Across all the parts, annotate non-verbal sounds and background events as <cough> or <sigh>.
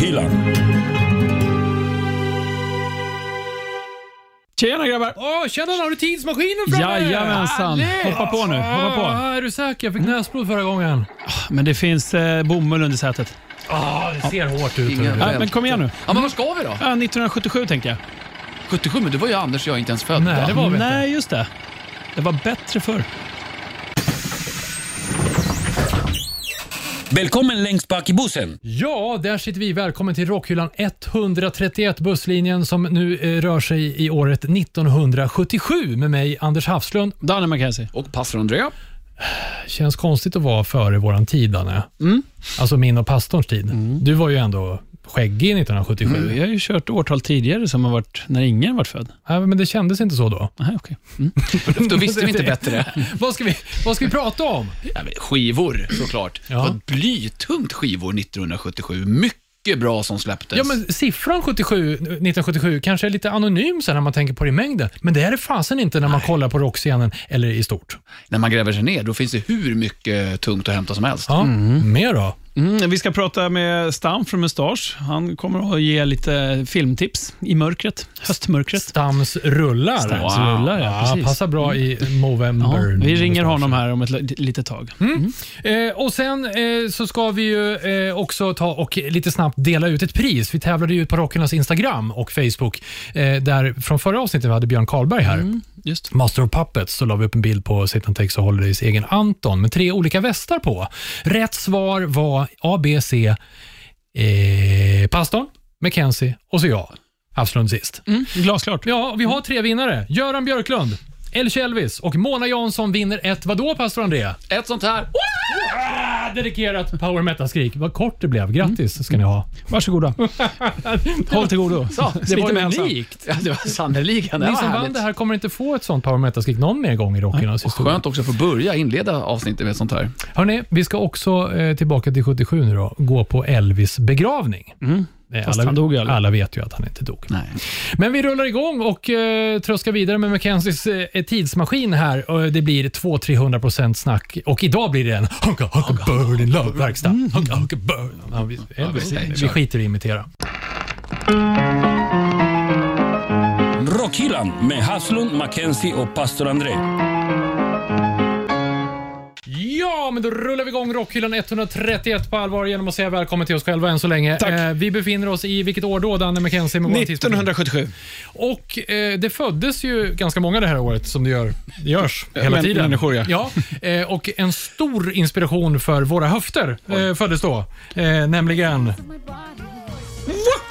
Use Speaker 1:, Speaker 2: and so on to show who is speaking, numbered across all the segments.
Speaker 1: Nyland.
Speaker 2: Tjena grabbar!
Speaker 3: Åh, tjena, har du tidsmaskinen framme?
Speaker 2: Jajamensan.
Speaker 3: Härligt!
Speaker 2: Hoppa på nu, hoppa på.
Speaker 3: Ah, är du säker? Jag fick näsblod förra gången.
Speaker 2: Men det finns eh, bomull under sätet.
Speaker 3: Ah, det ser hårt ut.
Speaker 4: Inga-
Speaker 2: Ja, men kom igen nu.
Speaker 4: Ja, men var ska vi då?
Speaker 2: Ja, 1977 tänker jag.
Speaker 4: 77, men du var ju Anders och jag inte ens född.
Speaker 3: Nej, det var vi inte.
Speaker 2: Nej, just det. Det var bättre förr.
Speaker 1: Välkommen längst bak i bussen.
Speaker 3: Ja, där sitter vi. Välkommen till Rockhyllan 131, busslinjen som nu eh, rör sig i året 1977 med mig, Anders Hafslund.
Speaker 2: Danne McKenzie.
Speaker 4: Och pastor Andrea.
Speaker 3: Känns konstigt att vara före våran tid, Danne.
Speaker 2: Mm.
Speaker 3: Alltså min och pastorns tid. Du var ju ändå skäggig 1977.
Speaker 2: Vi har ju kört årtal tidigare som har varit när ingen varit född.
Speaker 3: Nej, men det kändes inte så då.
Speaker 2: Aha, okay.
Speaker 4: <laughs> Då visste vi inte bättre.
Speaker 3: <laughs> vad, ska vi, vad ska vi prata om?
Speaker 4: Ja, men skivor, såklart.
Speaker 3: Ja.
Speaker 4: Det var ett blytungt skivor 1977. Mycket bra som släpptes.
Speaker 3: Ja, men siffran 77, 1977 kanske är lite anonym sen när man tänker på det i mängden, men det är det fasen inte när man kollar på rockscenen eller i stort.
Speaker 4: När man gräver sig ner, då finns det hur mycket tungt att hämta som helst.
Speaker 3: Ja, Mer då?
Speaker 2: Mm, vi ska prata med Stam från Mustasch. Han kommer att ge lite filmtips i mörkret. Höstmörkret.
Speaker 3: Stams rullar.
Speaker 2: Stams rullar, ja, precis. Mm.
Speaker 3: passar bra i
Speaker 2: Ja,
Speaker 3: Movember.
Speaker 2: vi ringer honom Mm. här om ett li- litet tag.
Speaker 3: Eh, och sen eh, så ska vi ju eh, också ta och lite snabbt dela ut ett pris. Vi tävlade ju ut på Rockarnas Instagram och Facebook, eh, där från förra avsnittet vi hade Björn Karlberg
Speaker 2: Mm.
Speaker 3: här.
Speaker 2: Just.
Speaker 3: Master of Puppets så la vi upp en bild på Sit and Takes a Holidays egen Anton med tre olika västar på. Rätt svar var A, B, C, eh, pastorn, Mackenzie och så jag. Hafslund sist.
Speaker 4: Mm.
Speaker 2: Glasklart.
Speaker 3: Ja, vi har tre vinnare. Göran Björklund, El Elvis och Mona Jansson vinner ett vadå, pastor André?
Speaker 4: Ett sånt här.
Speaker 3: Ah, Dedikerat <laughs> power metal-skrik. Vad kort det blev.
Speaker 4: Mm.
Speaker 3: Grattis ska ni ha.
Speaker 2: <laughs> Varsågoda. Håll till godo.
Speaker 4: Ja,
Speaker 2: Sliter
Speaker 4: det var
Speaker 2: med hälsan.
Speaker 4: unikt. Ja,
Speaker 3: <laughs>
Speaker 4: det var sannerligen. Det
Speaker 3: Ni
Speaker 4: var
Speaker 3: som vann
Speaker 4: härligt.
Speaker 3: det här kommer inte få ett sånt power metal-skrik någon mer gång i rockarnas historia.
Speaker 4: Skönt också att få börja inleda avsnittet med ett sånt här.
Speaker 3: Hörrni, vi ska också eh, tillbaka till 77 nu då. Gå på Elvis begravning. Eh,
Speaker 2: Fast han dog ju aldrig.
Speaker 3: alla vet ju att han inte dog.
Speaker 4: Nej.
Speaker 3: Men vi rullar igång och eh, tröskar vidare med Mackenzies eh, tidsmaskin här. Och det blir 200-300% snack och idag blir det en Honka Honka Burn in Love-verkstad. Honka Honka Burn. Ja, vi, Elvis,
Speaker 4: okej,
Speaker 3: vi
Speaker 4: kör.
Speaker 3: skiter i att imitera.
Speaker 1: Rockhyllan med Haslund, Mackenzie och pastor André.
Speaker 3: Ja, men då rullar vi igång Rockhyllan 131 på allvar genom att säga välkommen till oss själva än så länge.
Speaker 2: Tack.
Speaker 3: Eh, vi befinner oss i vilket år då, Danne Mackenzie? med vår tidsmaskin?
Speaker 2: 1977.
Speaker 3: Och eh, det föddes ju ganska många det här året som det gör. Det görs hela
Speaker 2: Men-
Speaker 3: tiden.
Speaker 2: människor, ja.
Speaker 3: ja eh, och en stor inspiration för våra höfter eh, föddes då. Eh, nämligen...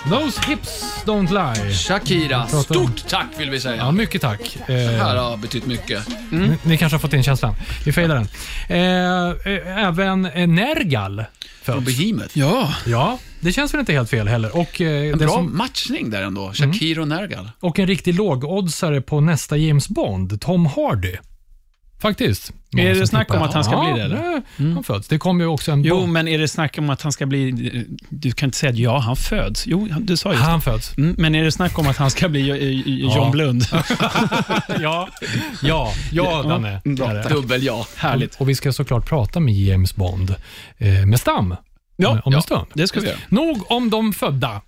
Speaker 3: Those hips don't lie.
Speaker 4: Shakira,
Speaker 3: Prata om-
Speaker 4: stort tack vill vi
Speaker 3: Ja,
Speaker 4: säga.
Speaker 3: mycket tack. Eh,
Speaker 4: Det här har betytt mycket.
Speaker 2: Mm.
Speaker 3: ni, ni kanske har fått in känslan. Vi fejdar den. Eh, eh, även eh, Nergal.
Speaker 4: Från Behemoth.
Speaker 2: Ja.
Speaker 3: Ja, det känns väl inte helt fel heller. Och, eh,
Speaker 4: En
Speaker 3: det
Speaker 4: bra
Speaker 3: som- Mm.
Speaker 4: matchning där ändå. Shakira och Nergal.
Speaker 3: och en riktig lågoddsare på nästa James Bond, Tom Hardy. Faktiskt.
Speaker 2: Är
Speaker 3: Många
Speaker 2: det
Speaker 3: som
Speaker 2: snack
Speaker 3: tippar.
Speaker 2: om att han ska
Speaker 3: ja,
Speaker 2: bli det, eller? Mm.
Speaker 3: Han föds. Det kommer ju också en
Speaker 2: Jo,
Speaker 3: Bond.
Speaker 2: men är det snack om att han ska bli... Du kan inte säga att ja, han föds. Jo, han- du sa ju det. <laughs>
Speaker 3: Han föds.
Speaker 2: Mm, Men är det snack om att han ska bli eh, eh, John
Speaker 3: Ja.
Speaker 2: Blund?
Speaker 3: Ja, ja, ja Danne. Är det.
Speaker 4: Dubbel ja.
Speaker 2: Härligt.
Speaker 3: Och vi ska såklart prata med James Bond, eh, med Stam, om,
Speaker 2: Ja,
Speaker 3: om en
Speaker 2: ja.
Speaker 3: stund.
Speaker 2: det ska vi göra.
Speaker 3: Nog om de födda.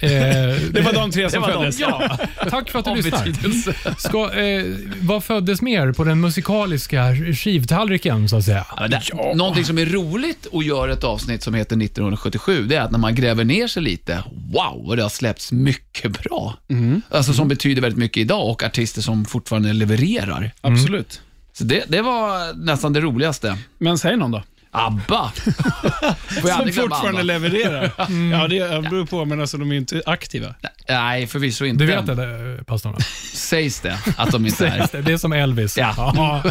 Speaker 3: Eh,
Speaker 2: <laughs> Det var de tre
Speaker 3: <laughs> det
Speaker 2: som
Speaker 3: var de,
Speaker 2: föddes.
Speaker 3: Ja. Tack för att du
Speaker 4: Av
Speaker 3: lyssnar.
Speaker 4: betydelse.
Speaker 3: Ska, eh, vad föddes mer på den musikaliska skivtallriken, så att säga?
Speaker 4: Ja, men det- Någonting som är roligt och gör ett avsnitt som heter 1977, det är att när man gräver ner sig lite, wow, vad det har släppts mycket bra. Alltså som betyder väldigt mycket idag och artister som fortfarande levererar.
Speaker 2: Absolut.
Speaker 4: Så det, det var nästan det roligaste.
Speaker 2: Men säg någon då.
Speaker 4: ABBA! Får jag
Speaker 2: Som
Speaker 4: aldrig glömma
Speaker 2: fortfarande
Speaker 3: <laughs>
Speaker 4: ABBA.
Speaker 2: levererar.
Speaker 3: Mm.
Speaker 2: Ja, det beror på, men alltså de är ju inte aktiva.
Speaker 4: Nej, förvisso inte.
Speaker 3: Du vet det, där, pastorn? va?
Speaker 4: Sägs det att de inte
Speaker 3: <laughs>
Speaker 4: är.
Speaker 3: Det är som Elvis.
Speaker 4: Ja.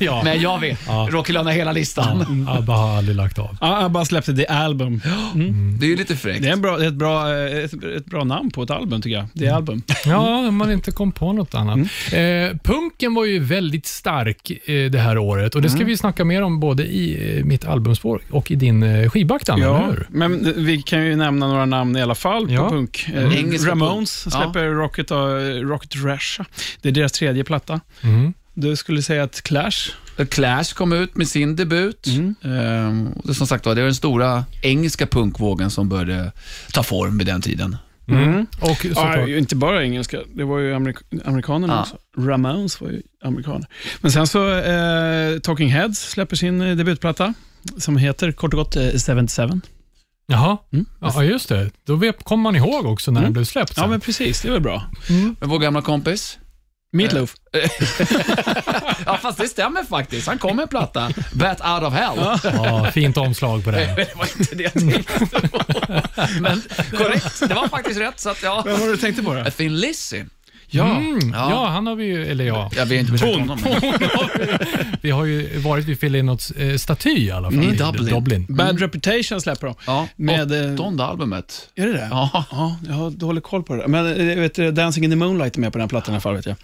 Speaker 3: ja.
Speaker 4: Men jag vet. Rocky har hela listan.
Speaker 3: Abba har aldrig lagt av.
Speaker 2: Ja, ABBA släppte The Album.
Speaker 4: Det är ju lite fräckt.
Speaker 2: Det är en bra, ett, bra, eh, ett, ett bra namn på ett album, tycker jag. The
Speaker 3: Mm.
Speaker 2: Album.
Speaker 3: Ja, om man inte kom på något annat.
Speaker 4: Mm.
Speaker 3: Eh, punken var ju väldigt stark eh, det här året och det ska
Speaker 4: Mm.
Speaker 3: vi snacka mer om både i eh, mitt albumspår och i din eh, skivback, Danne, eller
Speaker 2: Ja,
Speaker 3: hur?
Speaker 2: men vi kan ju nämna några namn i alla fall
Speaker 3: Ja. Mm.
Speaker 2: på punk. Eh,
Speaker 4: Engelska
Speaker 2: Ramones
Speaker 4: punk.
Speaker 2: släpper eh, Rocket, och, Rocket Russia. Det är deras tredje platta.
Speaker 3: Mm.
Speaker 2: Du skulle säga att Clash
Speaker 4: The Clash kom ut med sin debut. Ehm, och det, som sagt var, det var den stora engelska punkvågen som började ta form vid den tiden.
Speaker 3: Och
Speaker 2: Ja,
Speaker 3: såklart,
Speaker 2: ju inte bara engelska, det var ju amerik- amerikanerna
Speaker 4: Ja.
Speaker 2: också. Ramones var ju amerikaner. Men sen så, eh, Talking Heads släpper sin eh, debutplatta som heter kort och gott eh, 77.
Speaker 3: jaha.
Speaker 2: Mm.
Speaker 3: Ja, just det. Då vet- kommer man ihåg också när
Speaker 2: Mm.
Speaker 3: den blev släppt.
Speaker 2: Ja,
Speaker 3: sen.
Speaker 2: men precis. Det var bra. Eh,
Speaker 4: Men vår gamla kompis?
Speaker 2: Meatloaf.
Speaker 4: Ja, fast det stämmer faktiskt. Han kom med en platta, Bat Out of Hell.
Speaker 3: ja, fint omslag på den.
Speaker 4: <laughs> Men det var inte det jag tänkte på. <laughs> Men korrekt, det var faktiskt rätt. Så att, ja.
Speaker 2: Vad var det du tänkte på då?
Speaker 4: A Thin Lizzy.
Speaker 3: Ja, mm.
Speaker 4: Ja.
Speaker 3: ja. han har vi ju, eller ja,
Speaker 4: Jag vet inte besökt
Speaker 2: Hon.
Speaker 4: honom. men-
Speaker 3: vi har ju varit vid Filinets eh, staty i alla fall.
Speaker 4: Mm, i Dublin.
Speaker 2: Bad Reputation släpper de.
Speaker 4: Ja,
Speaker 2: Med, eh,
Speaker 4: åttonde albumet.
Speaker 2: Är det det?
Speaker 4: Ja.
Speaker 2: Ja, jag har dålig koll på det. Men eh, vet du, Dancing in the Moonlight är med på den här plattan i alla fall, vet jag.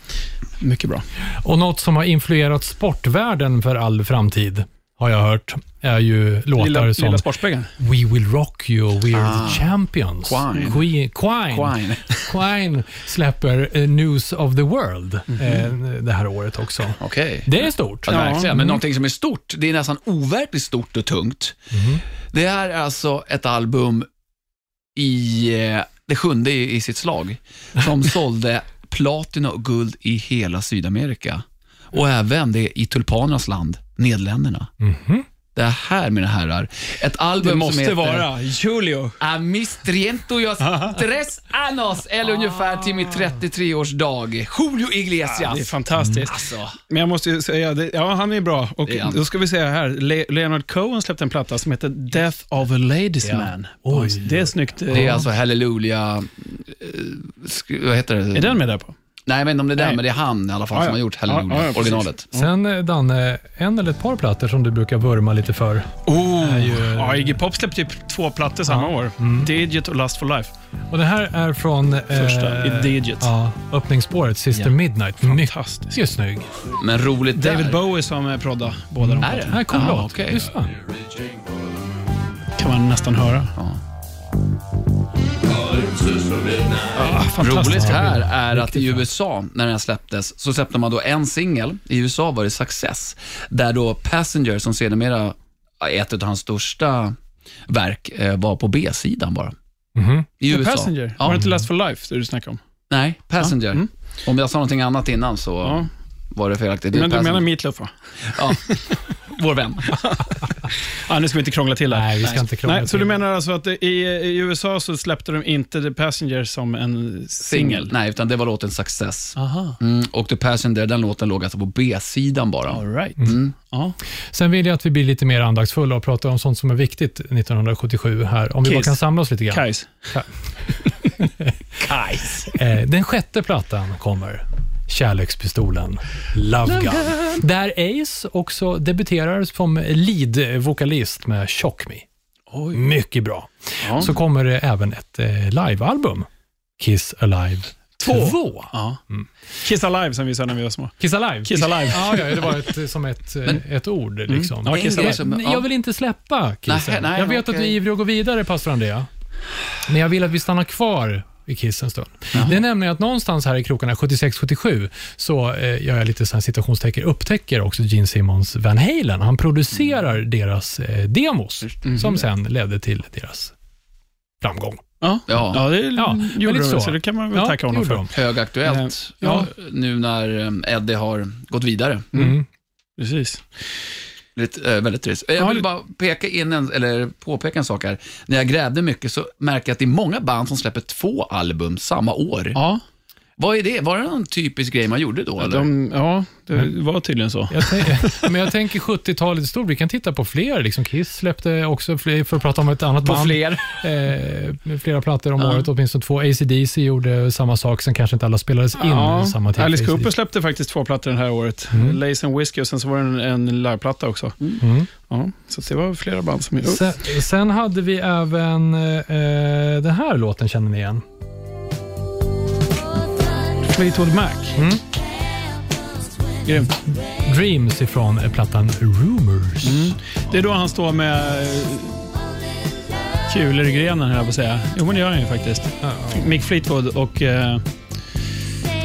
Speaker 2: Mycket bra.
Speaker 3: Och något som har influerat sportvärlden för all framtid, har jag hört, är ju låtar
Speaker 2: Lilla,
Speaker 3: som
Speaker 2: lilla Sportspegeln.
Speaker 3: We will rock you, we are
Speaker 4: Ah.
Speaker 3: the champions.
Speaker 4: Quine.
Speaker 3: Queen. Quine.
Speaker 4: Quine.
Speaker 3: <laughs> Quine släpper eh, News of the World eh, det här året också.
Speaker 4: Okej.
Speaker 3: Det är stort.
Speaker 4: Ja, verkligen. Men
Speaker 3: Mm.
Speaker 4: någonting som är stort, det är nästan overkligt stort och tungt.
Speaker 2: Mm-hmm.
Speaker 4: Det här är alltså ett album i eh, det sjunde i, i sitt slag,
Speaker 2: <laughs>
Speaker 4: som sålde platina och guld i hela Sydamerika. Och även det i tulpanernas land, Nederländerna. Det här, mina herrar, ett album
Speaker 2: Mm-hmm. Det
Speaker 4: som
Speaker 2: måste
Speaker 4: heter
Speaker 2: vara Julio.
Speaker 4: A mis trientos
Speaker 2: <laughs>
Speaker 4: tres anos, eller ungefär till min 33-årsdag. Julio
Speaker 2: Ah. Det är
Speaker 4: Iglesias.
Speaker 2: fantastiskt.
Speaker 4: Alltså,
Speaker 2: Men jag måste ju säga, det, ja han är bra. Och
Speaker 4: Det är han.
Speaker 2: då ska vi säga här, Le Leonard Cohen släppte en platta som heter Death of a Ladies Man.
Speaker 3: Oj.
Speaker 2: Det är snyggt. eh,
Speaker 4: det är alltså Halleluja... eh, sk- Vad heter det?
Speaker 2: är den med där på?
Speaker 4: Nej, jag vet inte om det är den,
Speaker 2: Nej.
Speaker 4: men det är han i alla fall
Speaker 2: Ja,
Speaker 4: som
Speaker 2: ja.
Speaker 4: har gjort
Speaker 2: Ja, ja,
Speaker 4: Halleluja,
Speaker 2: precis.
Speaker 4: originalet.
Speaker 3: Sen eh, Danne, en eller ett par plattor som du brukar vurma lite för.
Speaker 2: Oh. Ja, Iggy Pop släppte typ två plattor samma år.
Speaker 4: Mm.
Speaker 2: Digit och Lust for Life.
Speaker 3: Och det här är från... eh,
Speaker 2: Första, i Digit.
Speaker 3: Ja, öppningsspåret, Sister
Speaker 4: Ja.
Speaker 3: Midnight.
Speaker 2: Fantastiskt.
Speaker 3: Mycket snygg.
Speaker 4: Men roligt
Speaker 2: David
Speaker 4: där.
Speaker 2: Bowie som eh, proddar båda de
Speaker 4: Är det?
Speaker 2: plattorna.
Speaker 3: Här kommer
Speaker 4: Ah,
Speaker 3: låt.
Speaker 4: okej.
Speaker 3: Lyssna.
Speaker 2: kan man nästan höra.
Speaker 4: Ja.
Speaker 2: Ah, fantastiskt.
Speaker 4: Roligt här är att i USA, när den släpptes, så släppte man då en singel. I USA var det Success, där då Passenger, som sedermera är ett av hans största verk, eh, var på B-sidan bara.
Speaker 3: Mhm.
Speaker 4: I
Speaker 2: The
Speaker 4: USA.
Speaker 2: Passenger.
Speaker 4: Ja.
Speaker 2: Var det inte Last for Life det du snackade om?
Speaker 4: Nej, Passenger.
Speaker 2: Mm.
Speaker 4: Om jag sa någonting annat innan så
Speaker 2: Ja.
Speaker 4: var det felaktigt. Det är
Speaker 2: Men du
Speaker 4: Passenger.
Speaker 2: menar Meatloaf va?
Speaker 4: Ja.
Speaker 2: <laughs>
Speaker 4: Vår vän.
Speaker 2: Ah, nu ska vi inte krångla till det. här.
Speaker 3: Nej, vi ska inte krångla
Speaker 2: Nej, Så
Speaker 3: till
Speaker 2: du
Speaker 3: det.
Speaker 2: menar alltså att i, i USA så släppte de inte The Passenger som en
Speaker 4: Singel.
Speaker 2: singel?
Speaker 4: Mm, Nej, utan det var låten Success.
Speaker 2: Aha.
Speaker 4: Mm, och The Passenger, den låten låg alltså på B-sidan bara.
Speaker 2: All right.
Speaker 4: Mm.
Speaker 2: Ja.
Speaker 3: Sen vill jag att vi blir lite mer andaktsfulla och pratar om sånt som är viktigt 1977 här. Om vi bara
Speaker 2: Kiss.
Speaker 3: kan samla oss lite grann.
Speaker 2: Kajs.
Speaker 4: Kajs.
Speaker 3: Eh, den sjätte plattan kommer. Kärlekspistolen, Love Gun. Där Ace också debuterar som lead-vokalist med Shock Me. Mycket bra.
Speaker 2: Ja.
Speaker 3: Så kommer det även ett eh, livealbum, Kiss Alive 2.
Speaker 2: Ja. Kiss Alive som vi sa när vi var små.
Speaker 3: Kiss Alive.
Speaker 2: Kiss Alive. Mm.
Speaker 3: Ja, ja, det var ett, som ett, eh, ett ord. Liksom.
Speaker 2: Ja, Kiss
Speaker 4: En grej
Speaker 2: Alive.
Speaker 4: som-
Speaker 3: Nej, Jag vill inte släppa Kissen.
Speaker 4: Nej, nej,
Speaker 3: jag vet att du är
Speaker 4: okej.
Speaker 3: ivrig att gå vidare, pastor Andrea. Men jag vill att vi stannar kvar i Kiss en stund. Det är nämligen att någonstans här i krokarna 76-77 så eh, gör jag lite så här citationstecken, upptäcker också Gene Simmons Van Halen. Han producerar deras eh, demos
Speaker 2: Mm.
Speaker 3: som sen ledde till deras framgång.
Speaker 2: Ja,
Speaker 4: Ja.
Speaker 2: ja det
Speaker 3: Ja, men
Speaker 2: gjorde de,
Speaker 3: lite
Speaker 2: så.
Speaker 3: så.
Speaker 2: det kan man väl tacka honom
Speaker 3: det
Speaker 2: för.
Speaker 3: gjorde
Speaker 4: Högaktuellt
Speaker 2: Eh, Ja.
Speaker 4: nu när eh, Eddie har gått vidare.
Speaker 3: de. Mm.
Speaker 2: Precis.
Speaker 4: Lite, eh, väldigt trist.
Speaker 2: Ja,
Speaker 4: Jag vill
Speaker 2: det-
Speaker 4: bara peka in en, eller påpeka en sak här. När jag grävde mycket så märker jag att det är många band som släpper två album samma år.
Speaker 2: Ja,
Speaker 4: Vad är det? Var det någon typisk grej man gjorde då? Eller?
Speaker 2: de, ja det var tydligen så.
Speaker 3: Jag, tän- <laughs> men jag tänker 70-talet i stort. Vi kan titta på fler. Liksom Kiss släppte också, fler, för att prata om ett annat band.
Speaker 4: fler?
Speaker 3: eh, med flera plattor om året, åtminstone två. ACDC gjorde samma sak, sen kanske inte alla spelades in
Speaker 2: Ja,
Speaker 3: samma typ tid.
Speaker 2: Alice
Speaker 3: AC/DC.
Speaker 2: Cooper släppte faktiskt två plattor det här året.
Speaker 3: Mm.
Speaker 2: Lace and Whiskey och sen så var det en, en liveplatta också. Ja, så det var flera band som...
Speaker 3: Sen, sen hade vi även eh, den här låten, känner ni igen?
Speaker 2: Fleetwood Mac.
Speaker 3: Mm.
Speaker 2: Grymt.
Speaker 3: Dreams ifrån eh, plattan Rumors.
Speaker 2: Mm. Det är då han står med eh, kulor i grenen, höll jag på att säga. Jo, men det gör han ju faktiskt. Mick Fleetwood och eh,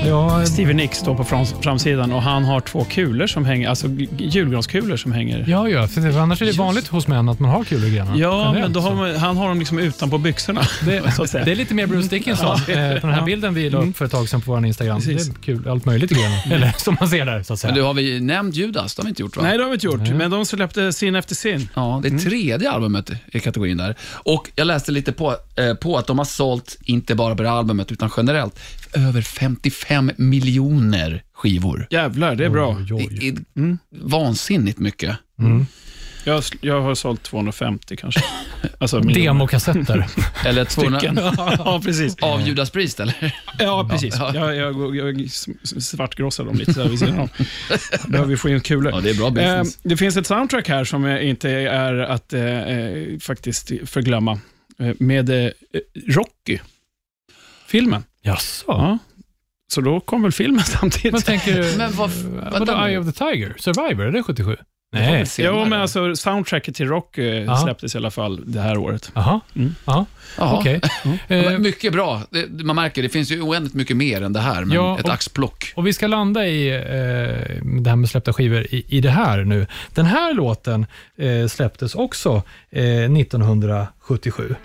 Speaker 3: Ja,
Speaker 2: Stevie Nicks står på frams- framsidan och han har två kulor som hänger, alltså g- julgranskulor som hänger.
Speaker 3: ja, ja för annars är det vanligt hos män att man har kulor i grenar.
Speaker 2: Ja,
Speaker 3: Generellt,
Speaker 2: men då har
Speaker 3: så.
Speaker 2: man, han har dem liksom utanpå byxorna.
Speaker 3: Det,
Speaker 2: <laughs> så att säga.
Speaker 3: det är lite mer Bruce Dickinson
Speaker 2: Ja.
Speaker 3: eh, på den här
Speaker 2: Ja.
Speaker 3: bilden vi la upp för ett tag sedan på vår Instagram.
Speaker 2: Precis.
Speaker 3: Det är kul, allt möjligt i grenar. Eller som man ser där, så att
Speaker 4: Men du,
Speaker 3: säga.
Speaker 4: har vi nämnt Judas? Det har vi inte gjort va?
Speaker 2: Nej, det har vi inte gjort, men de släppte sin efter sin.
Speaker 4: Ja, det är tredje albumet i kategorin där. Och jag läste lite på, eh, på att de har sålt, inte bara på det här albumet, utan generellt, över 55 miljoner skivor.
Speaker 2: Jävlar, det är bra.
Speaker 3: Oj,
Speaker 4: Det
Speaker 3: oj, oj.
Speaker 4: är vansinnigt mycket.
Speaker 2: Jag, jag har sålt 250 kanske. Alltså, miljoner.
Speaker 3: Mm. Demokassetter.
Speaker 4: Eller 200...
Speaker 2: Stycken. <laughs> ja, precis.
Speaker 4: <laughs> Av Judas Priest, eller?
Speaker 2: Ja, precis. Jag, jag, jag, jag s- s- svartgrossar dem lite så här vid sidan om. Behöver vi få in kulor.
Speaker 4: Ja, det är bra business.
Speaker 2: Eh, det finns ett soundtrack här som eh, inte är att eh, eh, faktiskt förglömma. Eh, Med eh, Rocky, filmen.
Speaker 3: Jaså?
Speaker 2: Ja. Så då kom väl filmen <laughs> samtidigt.
Speaker 3: Men tänker du...
Speaker 4: Men vad-
Speaker 3: vadå,
Speaker 4: vänta nu.
Speaker 3: Eye of the Tiger? Survivor, är det 77?
Speaker 4: Det var
Speaker 3: Nej.
Speaker 4: väl senare.
Speaker 2: Jo, men alltså soundtracket till Rocky eh,
Speaker 3: Ja.
Speaker 2: släpptes i alla fall det här året.
Speaker 3: Jaha, ja,
Speaker 4: Jaha.
Speaker 3: okej.
Speaker 4: Ja,
Speaker 3: Eh,
Speaker 4: men Mycket bra. Det, man märker, det finns ju oändligt mycket mer än det här, men
Speaker 3: Ja,
Speaker 4: ett
Speaker 3: och-
Speaker 4: axplock.
Speaker 3: Och vi ska landa i eh, det här med släppta skivor i, i det här nu. Den här låten eh, släpptes också eh, 1977.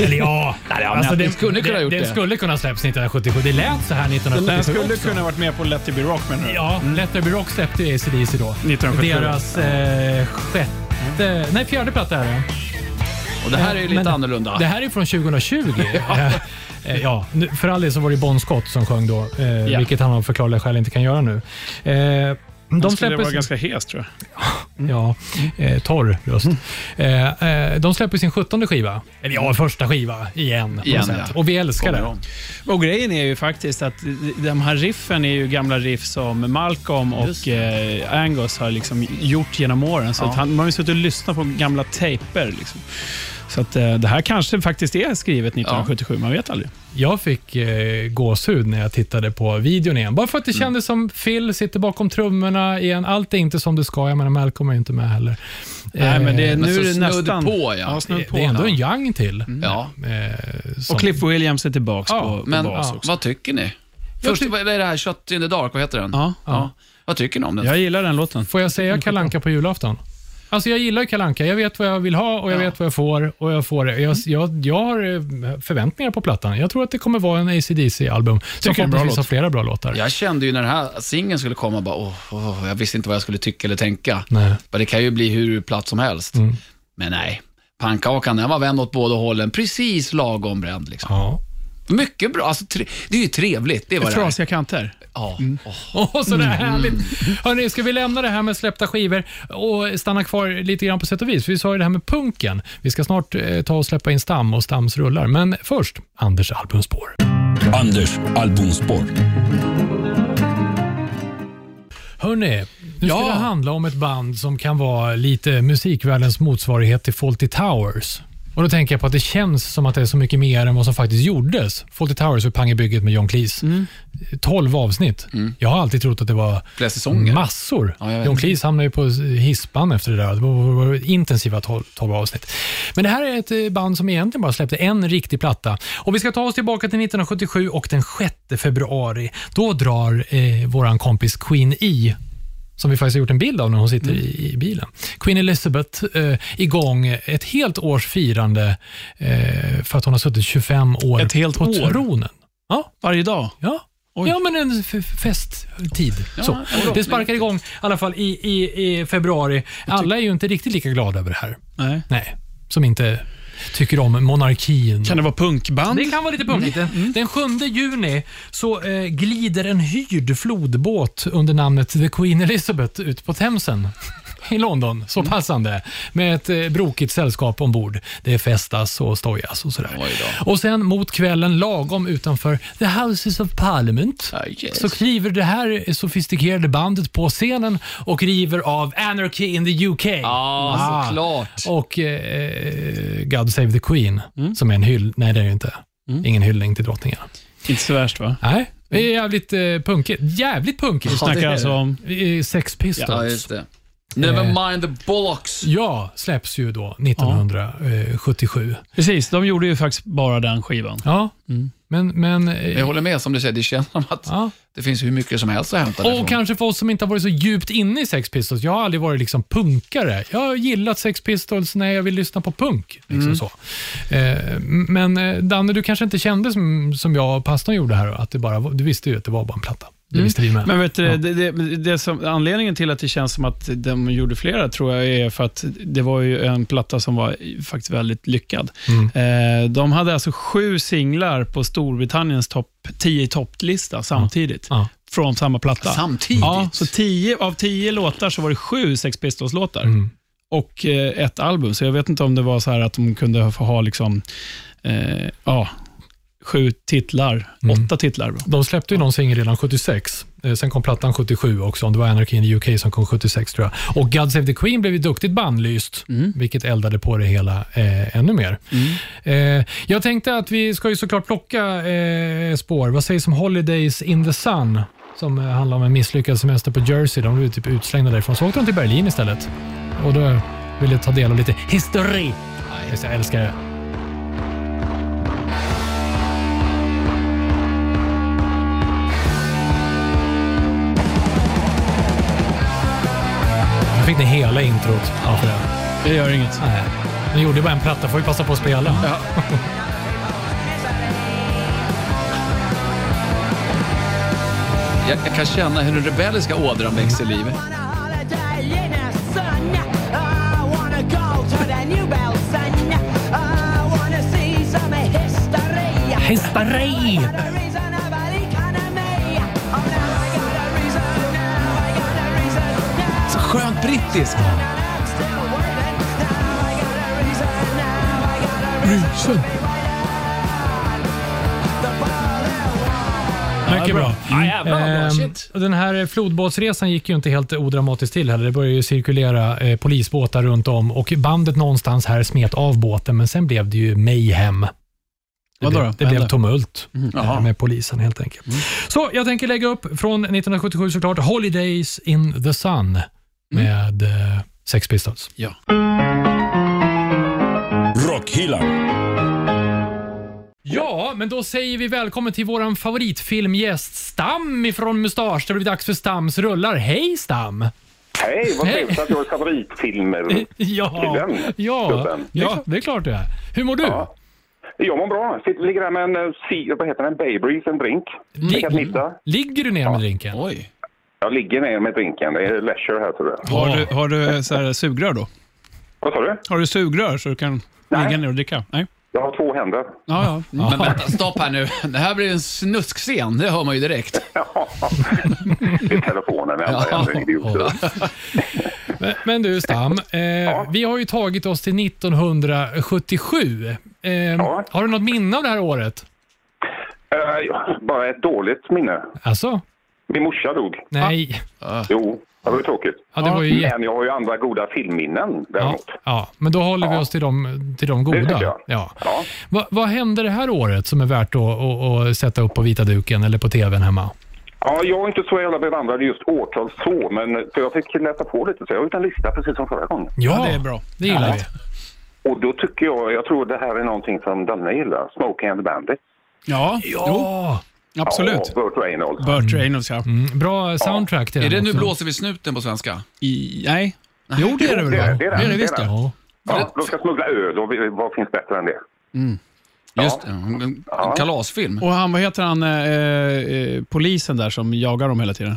Speaker 3: Eller <laughs> ja, alltså,
Speaker 4: den skulle kunna ha gjort det.
Speaker 3: Den skulle kunna ha släppts 1977. Det lät så här 1977
Speaker 2: Den skulle
Speaker 3: också.
Speaker 2: kunna varit med på Let It Be Rock, menar du?
Speaker 3: Ja, Let There Be Rock släppte ju ACDC då.
Speaker 2: 1977.
Speaker 3: Deras eh, sjätte, nej fjärde platta är det.
Speaker 4: Och det här är ju lite
Speaker 3: Men
Speaker 4: annorlunda.
Speaker 3: Det här är från 2020.
Speaker 2: <laughs>
Speaker 3: Eh, eh, ja, nu- för all del så var det Bon Scott som sjöng då, eh, vilket han av förklarliga skäl inte kan göra nu. Eh,
Speaker 2: De
Speaker 3: de
Speaker 2: skulle
Speaker 3: släpper
Speaker 2: vara
Speaker 3: sin,
Speaker 2: ganska Mm. hes, tror jag.
Speaker 3: ja, eh, torr röst.
Speaker 2: Mm.
Speaker 3: Eh, eh, de släpper sin sjuttonde skiva, eller ja, första skiva igen. på
Speaker 4: Igen,
Speaker 3: något sätt.
Speaker 4: ja.
Speaker 3: Och vi älskar
Speaker 4: Kommer
Speaker 3: det.
Speaker 4: de.
Speaker 2: Och grejen är ju faktiskt att de här riffen är ju gamla riff som Malcolm
Speaker 4: Just
Speaker 2: och eh, Angus har liksom gjort genom åren. Så
Speaker 4: Ja.
Speaker 2: att han, man har ju suttit och lyssnat på gamla tejper. Liksom. Så att, eh, det här kanske faktiskt är skrivet 1977, man vet aldrig.
Speaker 3: Jag fick eh, gåshud när jag tittade på videon igen. Bara för
Speaker 2: Mm.
Speaker 3: att det kändes som Phil sitter bakom trummorna igen. Allt är inte som det ska. Jag menar, Malcolm är ju inte med heller. Eh,
Speaker 2: Nej, men det,
Speaker 4: Men
Speaker 2: nu
Speaker 4: så
Speaker 2: är det
Speaker 4: snudd
Speaker 2: nästan...
Speaker 4: på, ja.
Speaker 2: snudd på. Mm.
Speaker 3: det är ändå en Young till.
Speaker 4: Ja.
Speaker 3: Eh, som-
Speaker 2: Och Cliff Williams är tillbaka
Speaker 3: Ja,
Speaker 2: på, på
Speaker 4: Men
Speaker 2: bas
Speaker 4: ja.
Speaker 2: också.
Speaker 4: vad tycker ni? Först,
Speaker 3: tyck-
Speaker 4: vad är det här? Shot in the dark, vad heter den?
Speaker 2: Ja.
Speaker 4: Ja. Vad tycker ni om den?
Speaker 2: Jag gillar den låten.
Speaker 3: Får jag säga kalanka på julafton? Alltså jag gillar ju kalanka. Jag vet vad jag vill ha och jag
Speaker 4: Ja.
Speaker 3: vet vad jag får och jag får det.
Speaker 2: Mm.
Speaker 3: Jag, jag, jag har eh, förväntningar på plattan. Jag tror att det kommer vara en ACDC-album som
Speaker 2: Tycker det är en bra
Speaker 3: förhoppningsvis har
Speaker 2: låt.
Speaker 3: flera bra låtar.
Speaker 4: Jag kände ju när den här singeln skulle komma, bara, åh, åh, jag visste inte vad jag skulle tycka eller tänka.
Speaker 3: Nej.
Speaker 4: Men det kan ju bli hur platt som helst.
Speaker 2: Mm.
Speaker 4: Men nej, pannkakan den var vänd åt båda hållen, precis lagom bränd. Liksom.
Speaker 3: Ja. <laughs>
Speaker 4: Mycket bra, alltså, tre... det är ju trevligt. Det var det här.
Speaker 2: Trasiga kanter.
Speaker 4: Ja.
Speaker 2: Mm.
Speaker 4: Åh.
Speaker 3: Åh, så det är härligt. Hörrni, ska vi lämna det här med släppta skivor och stanna kvar lite grann på sätt och vis? Vi sa ju det här med punken. Vi ska snart eh, ta och släppa in Stam och Stams rullar. Men först, Anders albumspår.
Speaker 1: Anders albumspår.
Speaker 3: Hörni, nu ska
Speaker 4: Ja.
Speaker 3: det handla om ett band som kan vara lite musikvärldens motsvarighet till Fawlty Towers. Och Då tänker jag på att det känns som att det är så mycket mer än vad som faktiskt gjordes. Fawlty Towers och Pang i bygget med John Cleese.
Speaker 4: Mm.
Speaker 3: 12 avsnitt. Jag har alltid trott att det var
Speaker 4: Flera säsonger.
Speaker 3: massor.
Speaker 4: Ja, jag vet.
Speaker 3: John Cleese hamnade ju på hispan efter det där. Det var- var var intensiva 12, 12 avsnitt. Men det här är ett eh, band som egentligen bara släppte en riktig platta. Och Vi ska ta oss tillbaka till 1977 och den 6 februari. Då drar eh, vår kompis Queen E som vi faktiskt har gjort en bild av när hon sitter i, i bilen. Queen Elizabeth eh, igång ett helt års firande eh, för att hon har suttit 25 år
Speaker 2: Ett helt
Speaker 3: på
Speaker 2: år?
Speaker 3: tronen. Ja,
Speaker 2: Varje dag.
Speaker 3: Ja.
Speaker 2: Oj.
Speaker 3: Ja, men en f- festtid. så.
Speaker 4: en förhoppning.
Speaker 3: Det sparkar igång i alla fall i, i, i februari. Alla är ju inte riktigt lika glada över det här.
Speaker 2: Nej.
Speaker 3: Nej, som inte tycker om monarkin.
Speaker 2: Kan det vara punkband?
Speaker 3: Det kan vara lite punkigt.
Speaker 4: Mm.
Speaker 3: Den, den 7 juni så eh, glider en hyrd flodbåt under namnet The Queen Elizabeth ut på Themsen <laughs> i London.
Speaker 4: Mm.
Speaker 3: Så passande. Med ett eh, brokigt sällskap ombord. Det festas och stojas och sådär.
Speaker 4: Oj då.
Speaker 3: Och sen mot kvällen, lagom utanför The Houses of Parliament,
Speaker 4: Ah, yes.
Speaker 3: så kliver det här sofistikerade bandet på scenen och river av Anarchy in the UK.
Speaker 4: Ja,
Speaker 3: Ah.
Speaker 4: såklart.
Speaker 3: Och eh, God Save the Queen,
Speaker 4: Mm.
Speaker 3: som är en hyll... Nej, det är det ju inte. Ingen hyllning till drottningen.
Speaker 2: Inte så värst, va?
Speaker 3: Nej, det är jävligt eh, punkigt. Jävligt punkigt.
Speaker 4: Ja, det är
Speaker 2: Snackar
Speaker 4: det.
Speaker 2: alltså om...
Speaker 3: Eh, Sex Pistols.
Speaker 4: Ja, just
Speaker 2: Eh.
Speaker 4: det. Never mind the bollocks.
Speaker 3: Ja, släpps ju då 1977.
Speaker 2: Precis, de gjorde ju faktiskt bara den skivan.
Speaker 3: Ja, Men, men, eh,
Speaker 4: Men jag håller med, som du säger, det känns som att
Speaker 3: ja.
Speaker 4: det finns hur mycket som helst att hämta därifrån.
Speaker 3: Och kanske för oss som inte har varit så djupt inne i Sex Pistols. Jag har aldrig varit liksom punkare. Jag har gillat Sex Pistols när jag vill lyssna på punk. Liksom så. Eh, men eh, Danne, du kanske inte kände som, som jag och pastorn gjorde här, att det bara, var- du visste ju att det var bara en platta. Det visste vi med.
Speaker 2: Men vet du, det, det, det som, anledningen till att det känns som att de gjorde flera tror jag är för att det var ju en platta som var faktiskt väldigt lyckad.
Speaker 3: Mm.
Speaker 2: Eh, de hade alltså sju singlar på Storbritanniens topp 10 topplista samtidigt.
Speaker 3: Ja.
Speaker 2: Från samma platta.
Speaker 4: Samtidigt?
Speaker 2: Ja, så tio, av tio låtar så var det sju Sex Pistols-låtar
Speaker 3: Mm.
Speaker 2: och eh, ett album. Så jag vet inte om det var så här att de kunde få ha liksom, eh, ja, sju titlar,
Speaker 3: Mm.
Speaker 2: åtta titlar. Bra.
Speaker 3: De släppte ju någon singel redan 76. Eh, Sen kom plattan 77 också, om det var Anarchy in the UK som kom 76 tror jag. Och God Save the Queen blev ju duktigt bannlyst, vilket eldade på det hela eh, ännu mer. Eh, jag tänkte att vi ska ju såklart plocka eh, spår. Vad sägs om Holidays in the Sun? Som eh, handlar om en misslyckad semester på Jersey. De blev typ utslängda därifrån, så åkte de till Berlin istället. Och då ville jag ta del av lite histori. Jag älskar det. Nu fick ni hela introt. Ja. För det.
Speaker 2: Det gör inget.
Speaker 3: Nej. Ni gjorde bara en platta, får vi passa på att spela.
Speaker 4: Jag, jag kan känna hur den rebelliska ådran växer i livet.
Speaker 5: On a holiday in the sun. I wanna go to the new Belsen. I wanna see some history.
Speaker 3: History!
Speaker 5: I got a reason of an economy. Oh, now I got a reason. Now I got a reason. Now
Speaker 4: Så skönt brittiskt.
Speaker 5: I'm still working. Now I got a reason. Now I got a
Speaker 4: Mm.
Speaker 5: reason. The ball and
Speaker 3: Mycket bra.
Speaker 4: Ja, jävlar vad
Speaker 3: Ehm,
Speaker 4: bra. Shit.
Speaker 3: och den här flodbåtsresan gick ju inte helt odramatiskt till heller. Det började ju cirkulera eh, polisbåtar runt om och bandet någonstans här smet av båten, men sen blev det ju mayhem. Det,
Speaker 2: Vadå då?
Speaker 3: blev, det
Speaker 2: Vad
Speaker 3: blev
Speaker 2: hände?
Speaker 3: tumult eh,
Speaker 4: Jaha.
Speaker 3: med polisen helt enkelt. Så jag tänker lägga upp från 1977 såklart, Holidays in the Sun med eh, Sex Pistols.
Speaker 1: Rockhyllan.
Speaker 3: Ja, men då säger vi välkommen till vår favoritfilmgäst Stam ifrån Mustasch. Det har blivit dags för Stams rullar. Hej Stam!
Speaker 6: Hej, vad
Speaker 3: Hej. Eh.
Speaker 6: trevligt att du har favoritfilmer.
Speaker 3: Ja,
Speaker 6: Killen,
Speaker 3: ja,
Speaker 6: gubben.
Speaker 3: ja, det är klart det är. Hur mår du?
Speaker 6: Ja. Jag mår bra. Sitter, ligger här med en, eh, si- vad heter den, Bay Breeze, en drink. Jag kan nissa.
Speaker 3: Ligger du ner med drinken?
Speaker 4: Oj.
Speaker 6: Jag ligger ner med drinken. Det är leisure här, tror jag.
Speaker 2: Har du, har du så här sugrör då?
Speaker 6: Vad sa du?
Speaker 2: Har du sugrör så du kan ligga ner och dricka? Nej.
Speaker 6: Jag har två händer.
Speaker 2: Ja, ja.
Speaker 4: Men vänta, stopp här nu. Det här blir en snuskscen, det hör man ju direkt.
Speaker 6: Det är telefonen
Speaker 3: <laughs>
Speaker 6: i andra händer, idioter.
Speaker 3: Men, men du
Speaker 6: <laughs>
Speaker 3: Stam, eh, vi har ju tagit oss till 1977. Eh, Har du något minne av det här året?
Speaker 6: Eh, ja, Bara ett dåligt minne.
Speaker 3: Alltså?
Speaker 6: Min morsa dog.
Speaker 3: Nej.
Speaker 6: Jo, det var ju tråkigt.
Speaker 3: Ja, det var ju jätte...
Speaker 6: Men jag har ju andra goda filmminnen
Speaker 3: Ja,
Speaker 6: däremot.
Speaker 3: ja, men då håller vi oss till de, till de goda.
Speaker 6: tycker jag.
Speaker 3: Ja.
Speaker 6: Ja.
Speaker 3: Va, vad hände det här året som är värt att, att, att sätta upp på vita duken eller på tvn hemma?
Speaker 6: Ja, jag är inte så jävla bevandrad i just årtal så, men för jag fick läsa på lite så jag har gjort en lista precis som förra gången.
Speaker 3: Ja,
Speaker 2: det är bra.
Speaker 3: Det gillar vi.
Speaker 6: Och då tycker jag, jag tror det här är någonting som Danne gillar, Smoking and the Bandit.
Speaker 2: Ja, jo,
Speaker 3: Ja,
Speaker 2: absolut.
Speaker 6: Ja, Burt Reynolds.
Speaker 2: Burt Reynolds, ja.
Speaker 3: mm, bra soundtrack till
Speaker 4: Är det
Speaker 3: den
Speaker 4: Nu
Speaker 3: också.
Speaker 4: blåser vi snuten på svenska?
Speaker 2: I, nej. Jo, det är det väl?
Speaker 6: det
Speaker 2: va?
Speaker 6: är det, det är det,
Speaker 2: det, är
Speaker 6: det
Speaker 2: det
Speaker 6: är
Speaker 2: visst
Speaker 6: det.
Speaker 2: det.
Speaker 3: Ja.
Speaker 6: Ja, de ska smuggla öl och vi- vad finns bättre än det?
Speaker 4: Just det, en, en kalasfilm.
Speaker 2: Och han, vad heter han, eh, eh, polisen där som jagar dem hela tiden?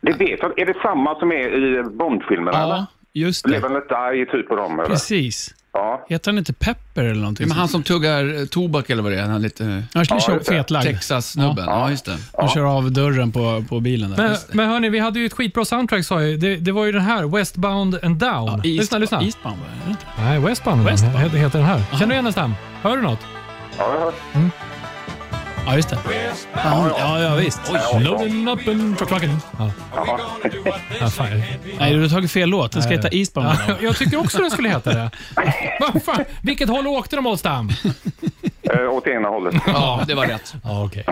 Speaker 6: Det vet jag. Är det samma som är i Bondfilmerna?
Speaker 2: Ja,
Speaker 6: eller?
Speaker 2: just
Speaker 6: Live
Speaker 2: det.
Speaker 6: and let die, typ av dem? Eller?
Speaker 2: Precis.
Speaker 6: Ja.
Speaker 2: Heter han inte Pepper eller någonting?
Speaker 4: Men han som tuggar eh, tobak eller vad det är, han är lite eh,
Speaker 2: han kör
Speaker 6: just det.
Speaker 2: fetlagd.
Speaker 4: Texas-snubben. Ja, just det.
Speaker 2: Han kör av dörren på, på bilen där.
Speaker 3: Men, men hörni, vi hade ju ett skitbra soundtrack sa jag. Det, det var ju den här, Westbound and Down. lyssna, lyssna.
Speaker 2: Eastbound, va? Är det inte?
Speaker 3: Nej, Westbound,
Speaker 2: Westbound.
Speaker 3: Heter, heter den här. Känner du igen den Stam? Hör du något?
Speaker 6: Ja, jag hör.
Speaker 2: Ja, just det. Ja, ja, ja visst.
Speaker 3: Loading up and truck trucking. Ja. Ja, fan.
Speaker 2: Nej, du har tagit fel låt. Den ska heta Eastbound.
Speaker 3: Ja, <laughs> jag tycker också den skulle heta det. <laughs> Vad fan, vilket håll åkte de åt Stam?
Speaker 6: Eh, åt ena hållet.
Speaker 4: Ja, det var rätt.
Speaker 3: Ja, okej.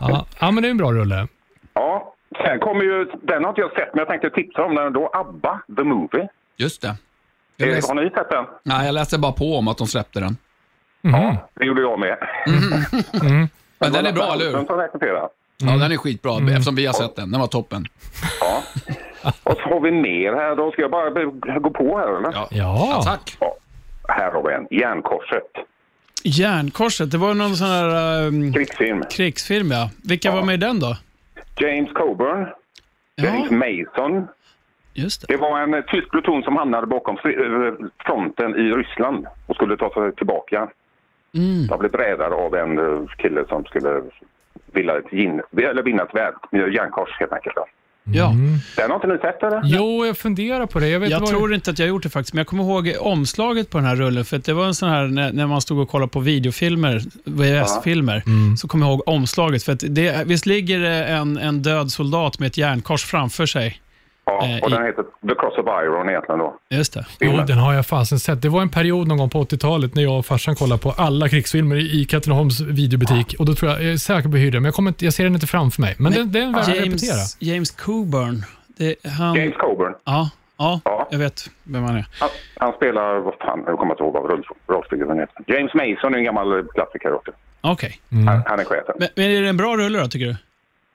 Speaker 3: Ja. ja, men det är en bra rulle.
Speaker 6: Ja. Sen kommer ju, den har inte jag sett, men jag tänkte tipsa om den då, ABBA, The Movie.
Speaker 4: Just det. Jag
Speaker 6: Eh,
Speaker 4: läste,
Speaker 6: har ni sett den?
Speaker 4: nej, jag läste bara på om att de släppte den.
Speaker 3: Mhm.
Speaker 6: Ja, det gjorde jag med.
Speaker 4: Men Mm, den är bra, eller hur?
Speaker 6: Som rekommenderar.
Speaker 2: Mm.
Speaker 4: Ja, den är skitbra eftersom vi har sett den. Den var toppen.
Speaker 6: Ja. Och så har vi mer här då. Ska jag bara be- gå på här eller?
Speaker 4: Ja.
Speaker 3: Ja.
Speaker 4: tack.
Speaker 6: Ja. Här har vi en. Järnkorset.
Speaker 2: <laughs> Järnkorset, det var någon sån här ehm,
Speaker 6: Krigsfilm.
Speaker 2: krigsfilm ja. Vilka var med i den då?
Speaker 6: James Coburn. James
Speaker 2: Ja,
Speaker 6: Mason.
Speaker 2: just det.
Speaker 6: Det var en eh, tysk pluton som hamnade bakom stri- eh, fronten i Ryssland och skulle ta sig tillbaka.
Speaker 2: Mm.
Speaker 6: De blev räddade av en eh, kille som skulle vilja ett gin, eller vinna ett värld- järnkors helt enkelt. då.
Speaker 2: Ja.
Speaker 6: Den har inte ni sett eller?
Speaker 3: Jo, jag funderar på det. Jag, vet
Speaker 2: Jag
Speaker 3: vad-
Speaker 2: tror inte att jag gjort det faktiskt, men jag kommer ihåg omslaget på den här rullen. För att det var en sån här, när, när man stod och kollade på videofilmer, VHS-filmer, så kommer jag ihåg omslaget. För att det, visst ligger det en, en död soldat med ett järnkors framför sig?
Speaker 6: Ja,
Speaker 2: Eh,
Speaker 6: och
Speaker 2: i- Mm.
Speaker 6: den heter The Cross of Iron egentligen då.
Speaker 2: Just det.
Speaker 3: Jo, den har jag fasen sett. Det var en period någon gång på 80-talet när jag och farsan kollade på alla krigsfilmer i Katrineholms videobutik. Och då tror jag, jag är säker på hur det är, men jag, kommer inte, jag ser den inte framför mig. Men den, den är värd att repetera.
Speaker 2: James, James Coburn. Det, han,
Speaker 6: James Coburn.
Speaker 2: ja, ja,
Speaker 6: Ja.
Speaker 2: jag vet vem han är.
Speaker 6: Han, han spelar, vad fan, jag kommer inte ihåg vad roll- rollfiguren heter. James Mason är en gammal eh, klassiker också.
Speaker 2: Okej.
Speaker 6: Han, han är chefen.
Speaker 2: Men, men är det en bra rulle då, tycker du?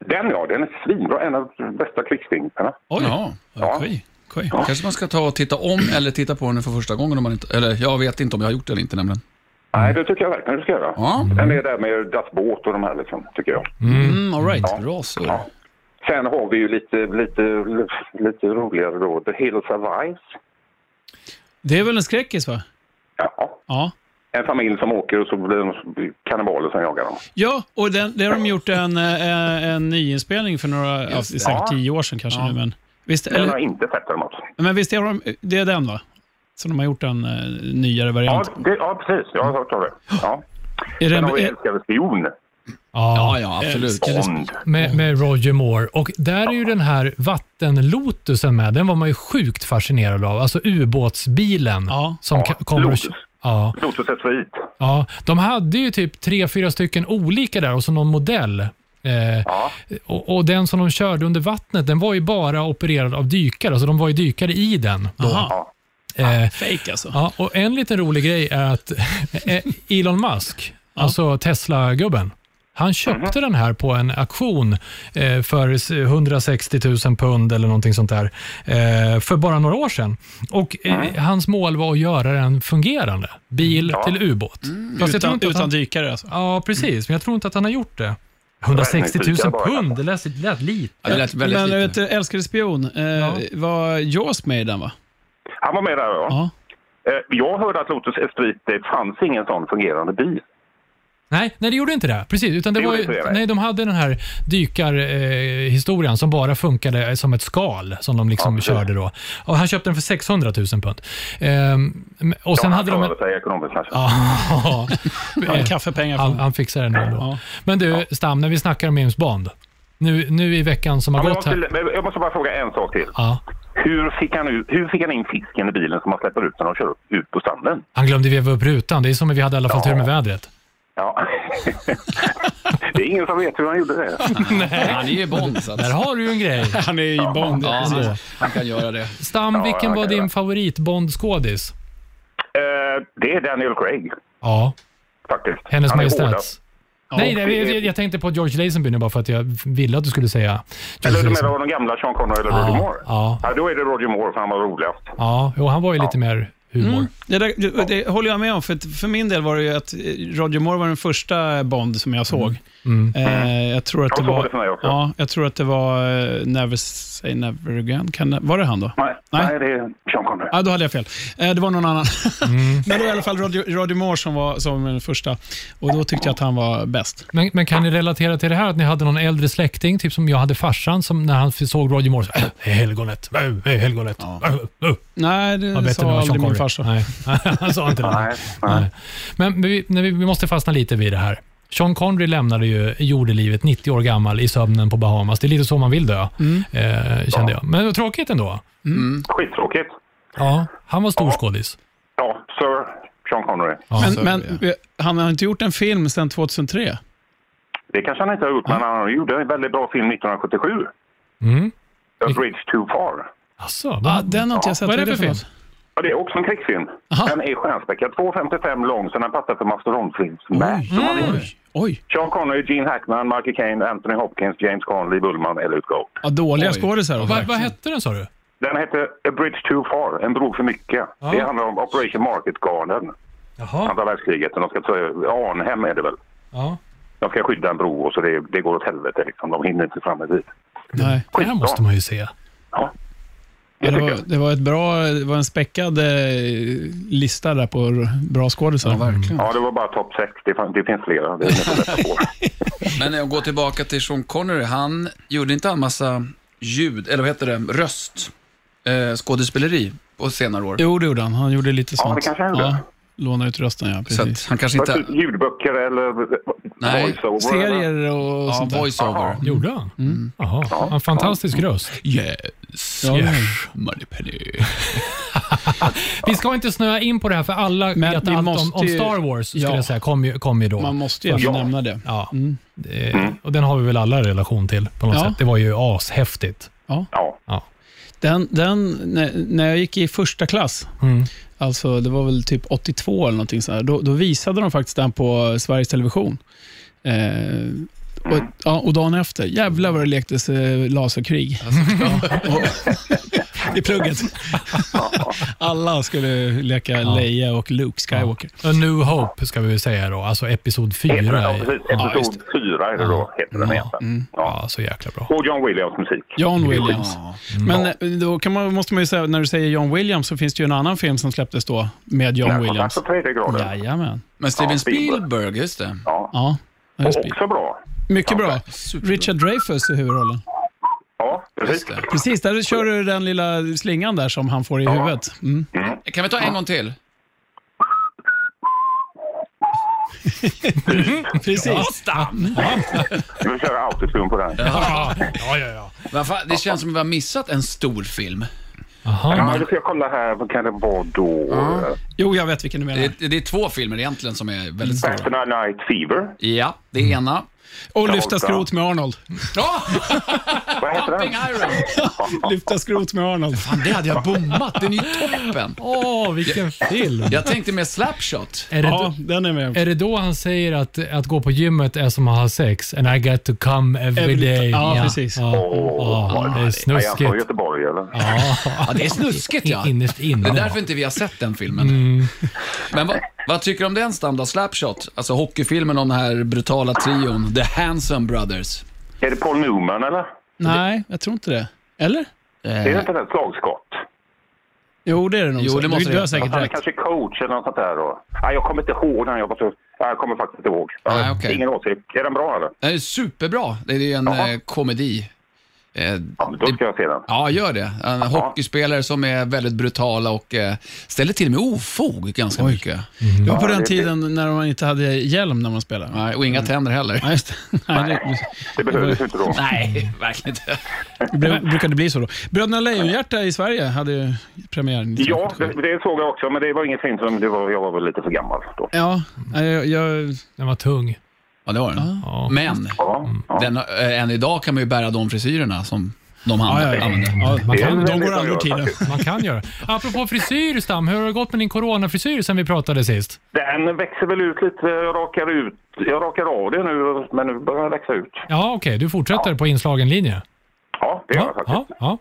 Speaker 6: Den ja, den är svinbra. En av de bästa krigsfilmerna.
Speaker 2: Oj.
Speaker 4: Ja.
Speaker 2: Okej. Okej.
Speaker 4: Kanske man ska ta och titta om eller titta på den för första gången. Om man inte, eller jag vet inte om jag har gjort det eller inte nämligen.
Speaker 6: Nej, det tycker jag verkligen du ska göra.
Speaker 4: Ja.
Speaker 6: Den är där med Das Båt och de här liksom, tycker jag.
Speaker 4: Mm, all right. Bra så.
Speaker 6: Sen har vi ju lite, lite, lite roligare då, The Hill Survives.
Speaker 2: Det är väl en skräckis, va?
Speaker 6: Ja.
Speaker 2: Ja.
Speaker 6: En familj som åker och så blir de kannibaler som jagar dem.
Speaker 2: Ja, och den, det har de gjort en, eh, en nyinspelning för några, ja, det är säkert
Speaker 6: Ja.
Speaker 2: tio år sedan kanske nu, men visst,
Speaker 6: Den har
Speaker 2: eller,
Speaker 6: jag inte sett däremot.
Speaker 2: men visst har de, det är den va? Som de har gjort en eh, nyare
Speaker 6: Ja,
Speaker 2: variant.
Speaker 6: det, ja, precis. Jag har hört om det. Ja.
Speaker 2: är
Speaker 6: Sen har vi
Speaker 2: det,
Speaker 6: Älskade spion.
Speaker 3: Ja,
Speaker 4: Ja, ja, absolut.
Speaker 2: Älskar-
Speaker 6: Bond.
Speaker 3: Med, med Roger Moore. Och där är ju den här vattenlotusen med. Den var man ju sjukt fascinerad av. Alltså ubåtsbilen.
Speaker 2: Ja.
Speaker 3: Som ka- kommer och,
Speaker 6: Lotus.
Speaker 3: ja,
Speaker 6: Lotus Etuit.
Speaker 3: ja. De hade ju typ tre, fyra stycken olika där och så någon modell. Eh,
Speaker 6: Ja.
Speaker 3: och, och den som de körde under vattnet, den var ju bara opererad av dykare. Alltså de var ju dykare i den. Då.
Speaker 2: Aha,
Speaker 3: Eh,
Speaker 2: fake alltså.
Speaker 3: ja, och en liten rolig grej är att <laughs> eh, Elon Musk, alltså Tesla-gubben, han köpte den här på en auktion eh, för s- 160 000 pund eller någonting sånt där eh, för bara några år sedan. Och eh, hans mål var att göra den fungerande. Bil till ubåt. Fast jag tror
Speaker 2: Mm. Utan,
Speaker 3: inte att han-
Speaker 2: utan dykare alltså.
Speaker 3: Ja, precis. Men jag tror inte att han har gjort det. 160 000
Speaker 6: Räddningsdykare bara.
Speaker 3: pund, det lät, det lät lite.
Speaker 4: Ja, det lät väldigt
Speaker 2: Men vet
Speaker 4: lite.
Speaker 2: du, älskade spion, eh, var Jaws med i den va?
Speaker 6: Han var med där, ja.
Speaker 2: Ja.
Speaker 6: Eh, Jag hörde att Lotus Esprit, det fanns ingen sån fungerande bil.
Speaker 3: Nej, nej, det gjorde inte det. Precis, utan det
Speaker 6: Det
Speaker 3: var
Speaker 6: gjorde
Speaker 3: ju,
Speaker 6: inte det,
Speaker 3: nej.
Speaker 6: nej.
Speaker 3: de hade den här dykarhistorien eh, historien som bara funkade eh, som ett skal som de liksom
Speaker 6: Ja, precis.
Speaker 3: körde då. Och han köpte den för 600 000 pund. Ehm, och sen
Speaker 6: ja,
Speaker 3: hade de...
Speaker 6: han
Speaker 3: En,
Speaker 6: klarade sig ekonomiskt kanske.
Speaker 3: ja,
Speaker 6: <laughs>
Speaker 2: Ja. Kaffepengar
Speaker 3: han,
Speaker 2: från...
Speaker 3: han fixade den ändå.
Speaker 2: Ja.
Speaker 3: Men du, Stam, när vi snackar om James Bond. Nu, nu i veckan som
Speaker 6: Ja,
Speaker 3: har
Speaker 6: men jag,
Speaker 3: gått här.
Speaker 6: måste, men jag måste bara fråga en sak till.
Speaker 3: Ja,
Speaker 6: Hur fick, han ut, hur fick han in fisken i bilen som han släpper ut när de kör upp- ut på stranden?
Speaker 3: han glömde veva upp rutan. Det är som om vi hade i alla fall tur med vädret.
Speaker 6: Ja. <laughs> det är ingen som vet hur han gjorde det.
Speaker 4: Han är ju Bond så att,
Speaker 3: Där har du ju en grej.
Speaker 2: Han är i Bond.
Speaker 4: ja,
Speaker 2: ändå.
Speaker 4: han, han kan göra det.
Speaker 3: Stam,
Speaker 6: Ja,
Speaker 3: vilken
Speaker 6: jag
Speaker 3: var
Speaker 6: kan
Speaker 3: din
Speaker 6: göra.
Speaker 3: favorit Bond-skådis?
Speaker 6: Eh, det är Daniel Craig,
Speaker 3: Ja,
Speaker 6: faktiskt.
Speaker 3: Hennes
Speaker 6: han är
Speaker 3: Majestäts.
Speaker 6: hårdast.
Speaker 3: Nej, nej jag, jag tänkte på George Lazenby nu bara för att jag ville att du skulle säga George
Speaker 6: Eller du
Speaker 3: Lazenby.
Speaker 6: menar de gamla Sean Connery eller
Speaker 3: Ja,
Speaker 6: Roger Moore?
Speaker 3: ja.
Speaker 6: då är det Roger Moore för han var roligast.
Speaker 3: Ja, jo, han var ju lite mer humor.
Speaker 2: Det, där, det, det håller jag med om, för att för min del var det ju att eh, Roger Moore var den första Bond som jag såg.
Speaker 3: Mm.
Speaker 2: Eh, jag tror att
Speaker 6: Ja,
Speaker 2: det
Speaker 6: så var
Speaker 2: var...
Speaker 6: det för mig också.
Speaker 2: Ja, jag tror att det var eh, Never Say Never Again. Kan, var det han då?
Speaker 6: Nej,
Speaker 2: Nej.
Speaker 6: nej. det är Sean Connery.
Speaker 2: Ja, då hade jag fel. Eh, det var någon annan.
Speaker 3: Mm.
Speaker 2: <laughs> Men det var i alla fall Roger, Roger Moore som var som den första. Och då tyckte jag att han var bäst.
Speaker 3: Men, men kan ni relatera till det här att ni hade någon äldre släkting, typ som jag hade farsan, som när han såg Roger Moore så äh, det är helgonet, äh, det är helgonet. Äh, äh."
Speaker 2: Nej,
Speaker 3: Ja,
Speaker 2: det
Speaker 3: bättre än
Speaker 2: sa
Speaker 3: vad Sean
Speaker 2: aldrig min
Speaker 3: Connery.
Speaker 2: farsa.
Speaker 3: Nej, <laughs> han sa inte det.
Speaker 6: Nej, nej.
Speaker 3: Nej. Men vi, när vi, vi måste fastna lite vid det här. Sean Connery lämnade ju jordelivet 90 år gammal i sömnen på Bahamas. Det är lite så man vill dö,
Speaker 2: Mm.
Speaker 3: eh, kände jag. Men det var tråkigt ändå.
Speaker 6: Skittråkigt.
Speaker 3: Ja, han var stor skådis.
Speaker 6: Ja, Sir Sean Connery.
Speaker 2: Men,
Speaker 3: Ja.
Speaker 2: men eh, han har inte gjort en film sedan 2003.
Speaker 6: Det kanske han inte har gjort, men han gjorde en väldigt bra film 1977.
Speaker 3: Mm.
Speaker 6: A Bridge Too Far.
Speaker 3: Asså, vad-
Speaker 2: Ah, den har inte jag sett.
Speaker 3: Vad är det för
Speaker 2: något?
Speaker 6: Ja, det är också en krigsfilm.
Speaker 2: Aha.
Speaker 6: Den är stjärnspäckad. 2,55 lång, så den passar för mastodontfilm.
Speaker 4: Mm.
Speaker 2: Oj, oj.
Speaker 6: Sean Connery, Gene Hackman, Michael Caine, Anthony Hopkins, James Caan, Lee Bullman, Elliot Gold.
Speaker 2: Ja, dåliga
Speaker 4: Oj.
Speaker 2: skådisar.
Speaker 3: Vad, vad
Speaker 2: verkligen.
Speaker 3: hette den sa du?
Speaker 6: Den heter A Bridge Too Far, En bro för mycket. Det handlar om Operation Market Garden,
Speaker 3: Jaha.
Speaker 6: andra världskriget. De ska ta Arnhem är det väl.
Speaker 3: Ja.
Speaker 6: De ska skydda en bro och så det, det går åt helvete liksom. De hinner inte fram i tid.
Speaker 2: Nej.
Speaker 3: Det här måste man ju se.
Speaker 2: Mm.
Speaker 6: Ja.
Speaker 2: Ja, det,
Speaker 6: Det tycker
Speaker 2: var,
Speaker 6: jag.
Speaker 2: det var ett bra, det var en späckad eh, lista där på r- bra skådisar.
Speaker 4: verkligen.
Speaker 6: Ja, det var bara topp 6. Det, fan- det finns flera. Det är inte så
Speaker 2: <laughs>
Speaker 6: lätt att få.
Speaker 4: Men jag går tillbaka till Sean Connery. Han gjorde inte en massa ljud, eller vad heter det, röst, eh, skådespeleri på senare år.
Speaker 2: Jo, det gjorde han. Han gjorde lite sånt.
Speaker 6: det kanske han gjorde.
Speaker 2: låna ut rösten, ja.
Speaker 4: så
Speaker 2: Precis.
Speaker 4: att han kanske
Speaker 6: Fast
Speaker 4: inte...
Speaker 6: Ljudböcker eller
Speaker 4: Nej,
Speaker 6: voiceover. eller-
Speaker 2: Serier och
Speaker 4: Ja,
Speaker 2: sånt där.
Speaker 4: voiceover.
Speaker 6: Aha.
Speaker 3: Gjorde han?
Speaker 2: Mm.
Speaker 3: Jaha. En fantastisk röst.
Speaker 4: Yes,
Speaker 2: Ja,
Speaker 3: Yes.
Speaker 4: Moneypenny.
Speaker 3: Vi ska inte snöa in på det här för alla
Speaker 2: Men
Speaker 3: vet
Speaker 2: vi
Speaker 3: allt
Speaker 2: måste
Speaker 3: om, om
Speaker 2: ju-
Speaker 3: Star Wars, skulle
Speaker 2: Ja.
Speaker 3: jag säga, kom ju, kom ju då.
Speaker 2: Man måste ju ändå
Speaker 6: Ja.
Speaker 2: nämna det.
Speaker 3: Ja. Det, och den har vi väl alla relation till på något
Speaker 2: Ja.
Speaker 3: sätt. Det var ju ashäftigt.
Speaker 6: Ja.
Speaker 3: Ja.
Speaker 2: Den, den, när- när jag gick i första klass,
Speaker 3: Mm.
Speaker 2: alltså det var väl typ 82 eller någonting sådär, då, då visade de faktiskt den på Sveriges Television. Eh, och, ja, och dagen efter, jävlar vad det lektes eh, laserkrig. <laughs> I plugget. Alla skulle leka Leia och Luke Skywalker.
Speaker 3: A New Hope ska vi väl säga då, alltså episod 4.
Speaker 6: Heter den, ja, precis.
Speaker 3: ja.
Speaker 2: just
Speaker 6: Episod 4 är det då, heter den. heter den. Ja.
Speaker 3: ja, så jäkla bra.
Speaker 6: Och John Williams musik.
Speaker 2: John Williams. Men eh, då kan man, måste man ju säga, när du säger John Williams så finns det ju en annan film som släpptes då med John
Speaker 6: Närkontakt
Speaker 2: Williams.
Speaker 6: på tredje graden.
Speaker 2: Jajamän.
Speaker 4: Men Steven
Speaker 6: Ja, Spielberg.
Speaker 4: Spielberg, just det.
Speaker 6: Ja.
Speaker 2: Ja. Ja, just
Speaker 6: Och
Speaker 2: det.
Speaker 6: också bra.
Speaker 2: Mycket bra.
Speaker 4: Superbra.
Speaker 2: Richard Dreyfuss i huvudrollen.
Speaker 6: Ja,
Speaker 4: Just
Speaker 6: precis.
Speaker 4: det.
Speaker 2: Precis, där kör du den lilla slingan där som han får i huvudet. Mm.
Speaker 4: Kan vi ta en gång till?
Speaker 2: Precis.
Speaker 6: Vi kör autotune på den.
Speaker 3: Ja, ja, ja. ja.
Speaker 4: Vad fan, Det känns som att vi har missat en stor film.
Speaker 3: Aha.
Speaker 6: Ja, då ska jag kolla här. Vad kan det vara då? Eh,
Speaker 2: Jo, jag vet vilken du menar.
Speaker 4: Det, det är två filmer egentligen som är väldigt stora.
Speaker 6: Saturday Night Fever.
Speaker 4: Ja, det är ena.
Speaker 2: Och Lyfta skrot med
Speaker 4: <laughs>
Speaker 2: Arnold.
Speaker 4: Ja!
Speaker 6: Vad heter den?
Speaker 4: Pumping Iron!
Speaker 2: Lyfta skrot med Arnold.
Speaker 4: Fan, det hade jag bommat. Den är ju toppen.
Speaker 3: Åh, vilken film!
Speaker 4: Jag tänkte med Slapshot.
Speaker 3: Är, det
Speaker 2: Ja,
Speaker 3: då,
Speaker 2: den är med.
Speaker 3: är det då han säger att, att gå på gymmet är som att ha sex? And I get to come every,
Speaker 2: Every-
Speaker 3: day.
Speaker 2: ja, precis.
Speaker 3: Ja, ja, det är
Speaker 6: Är han från
Speaker 3: snuskigt.
Speaker 6: Göteborg eller?
Speaker 4: <laughs> Ja, det är snuskigt ja. Mm.
Speaker 3: Innerst inne.
Speaker 4: Det är därför inte vi har sett den filmen. Men vad, vad tycker du om den standard Slapshot? Alltså hockeyfilmen om den här brutala trion, The Handsome Brothers.
Speaker 6: Är det Paul Newman eller?
Speaker 2: Eh. Nej, jag tror inte det. Eller?
Speaker 6: Är det inte den? Slagskott?
Speaker 2: Jo, det är det nog.
Speaker 4: Jo,
Speaker 2: säkert.
Speaker 4: det måste
Speaker 2: du,
Speaker 4: det
Speaker 2: du har
Speaker 4: vara.
Speaker 2: säkert
Speaker 6: Han är
Speaker 2: rätt.
Speaker 6: kanske coach eller något sånt där. då. Nej, jag kommer inte ihåg den. Jag, var så... Nej, jag kommer faktiskt inte ihåg. Ja,
Speaker 4: Nej, okej.
Speaker 6: Ingen åsikt. Är den bra eller?
Speaker 4: Den är superbra. Det är ju en
Speaker 6: Jaha.
Speaker 4: eh, komedi. Eh,
Speaker 6: Ja, då ska jag se den.
Speaker 4: Ja, gör det. En hockeyspelare som är väldigt brutala och eh, ställer till med ofog ganska mycket.
Speaker 2: Det var på den
Speaker 6: det-
Speaker 2: tiden när man inte hade hjälm när man spelade.
Speaker 4: Nej, och inga tänder heller.
Speaker 2: Nej, just det. Nej, det,
Speaker 6: Det behövdes ju inte då.
Speaker 4: Nej, <laughs> verkligen inte.
Speaker 2: det blev- brukade bli så då. Bröderna Lejonhjärta i Sverige hade ju premiär
Speaker 6: Ja,
Speaker 2: 1977.
Speaker 6: det, det såg jag också, men det var ingen film som... Det var, jag var väl lite för gammal då.
Speaker 2: Ja, nej, jag, jag,
Speaker 3: Den var tung.
Speaker 4: Ja, det var den.
Speaker 3: Ja.
Speaker 4: Men
Speaker 6: Ja,
Speaker 2: Mm.
Speaker 6: ja.
Speaker 4: den, eh, än idag kan man ju bära de frisyrerna som de
Speaker 2: ja,
Speaker 4: använder.
Speaker 2: ja, ja.
Speaker 3: Man
Speaker 6: Det är
Speaker 3: kan,
Speaker 6: väl
Speaker 2: De
Speaker 6: det
Speaker 2: går
Speaker 6: som
Speaker 2: aldrig ur
Speaker 6: gör
Speaker 2: tiden.
Speaker 6: faktiskt.
Speaker 3: man kan göra. Apropå frisyr, Stam. Hur har det gått med din coronafrisyr sen vi pratade sist?
Speaker 6: Den växer väl ut lite. Jag rakar, ut, jag rakar av det nu, men nu börjar den växa ut.
Speaker 3: Ja, okej. Du fortsätter på inslagen linje.
Speaker 6: Ja, det gör den
Speaker 3: Ja,
Speaker 6: faktiskt.
Speaker 3: ja, ja.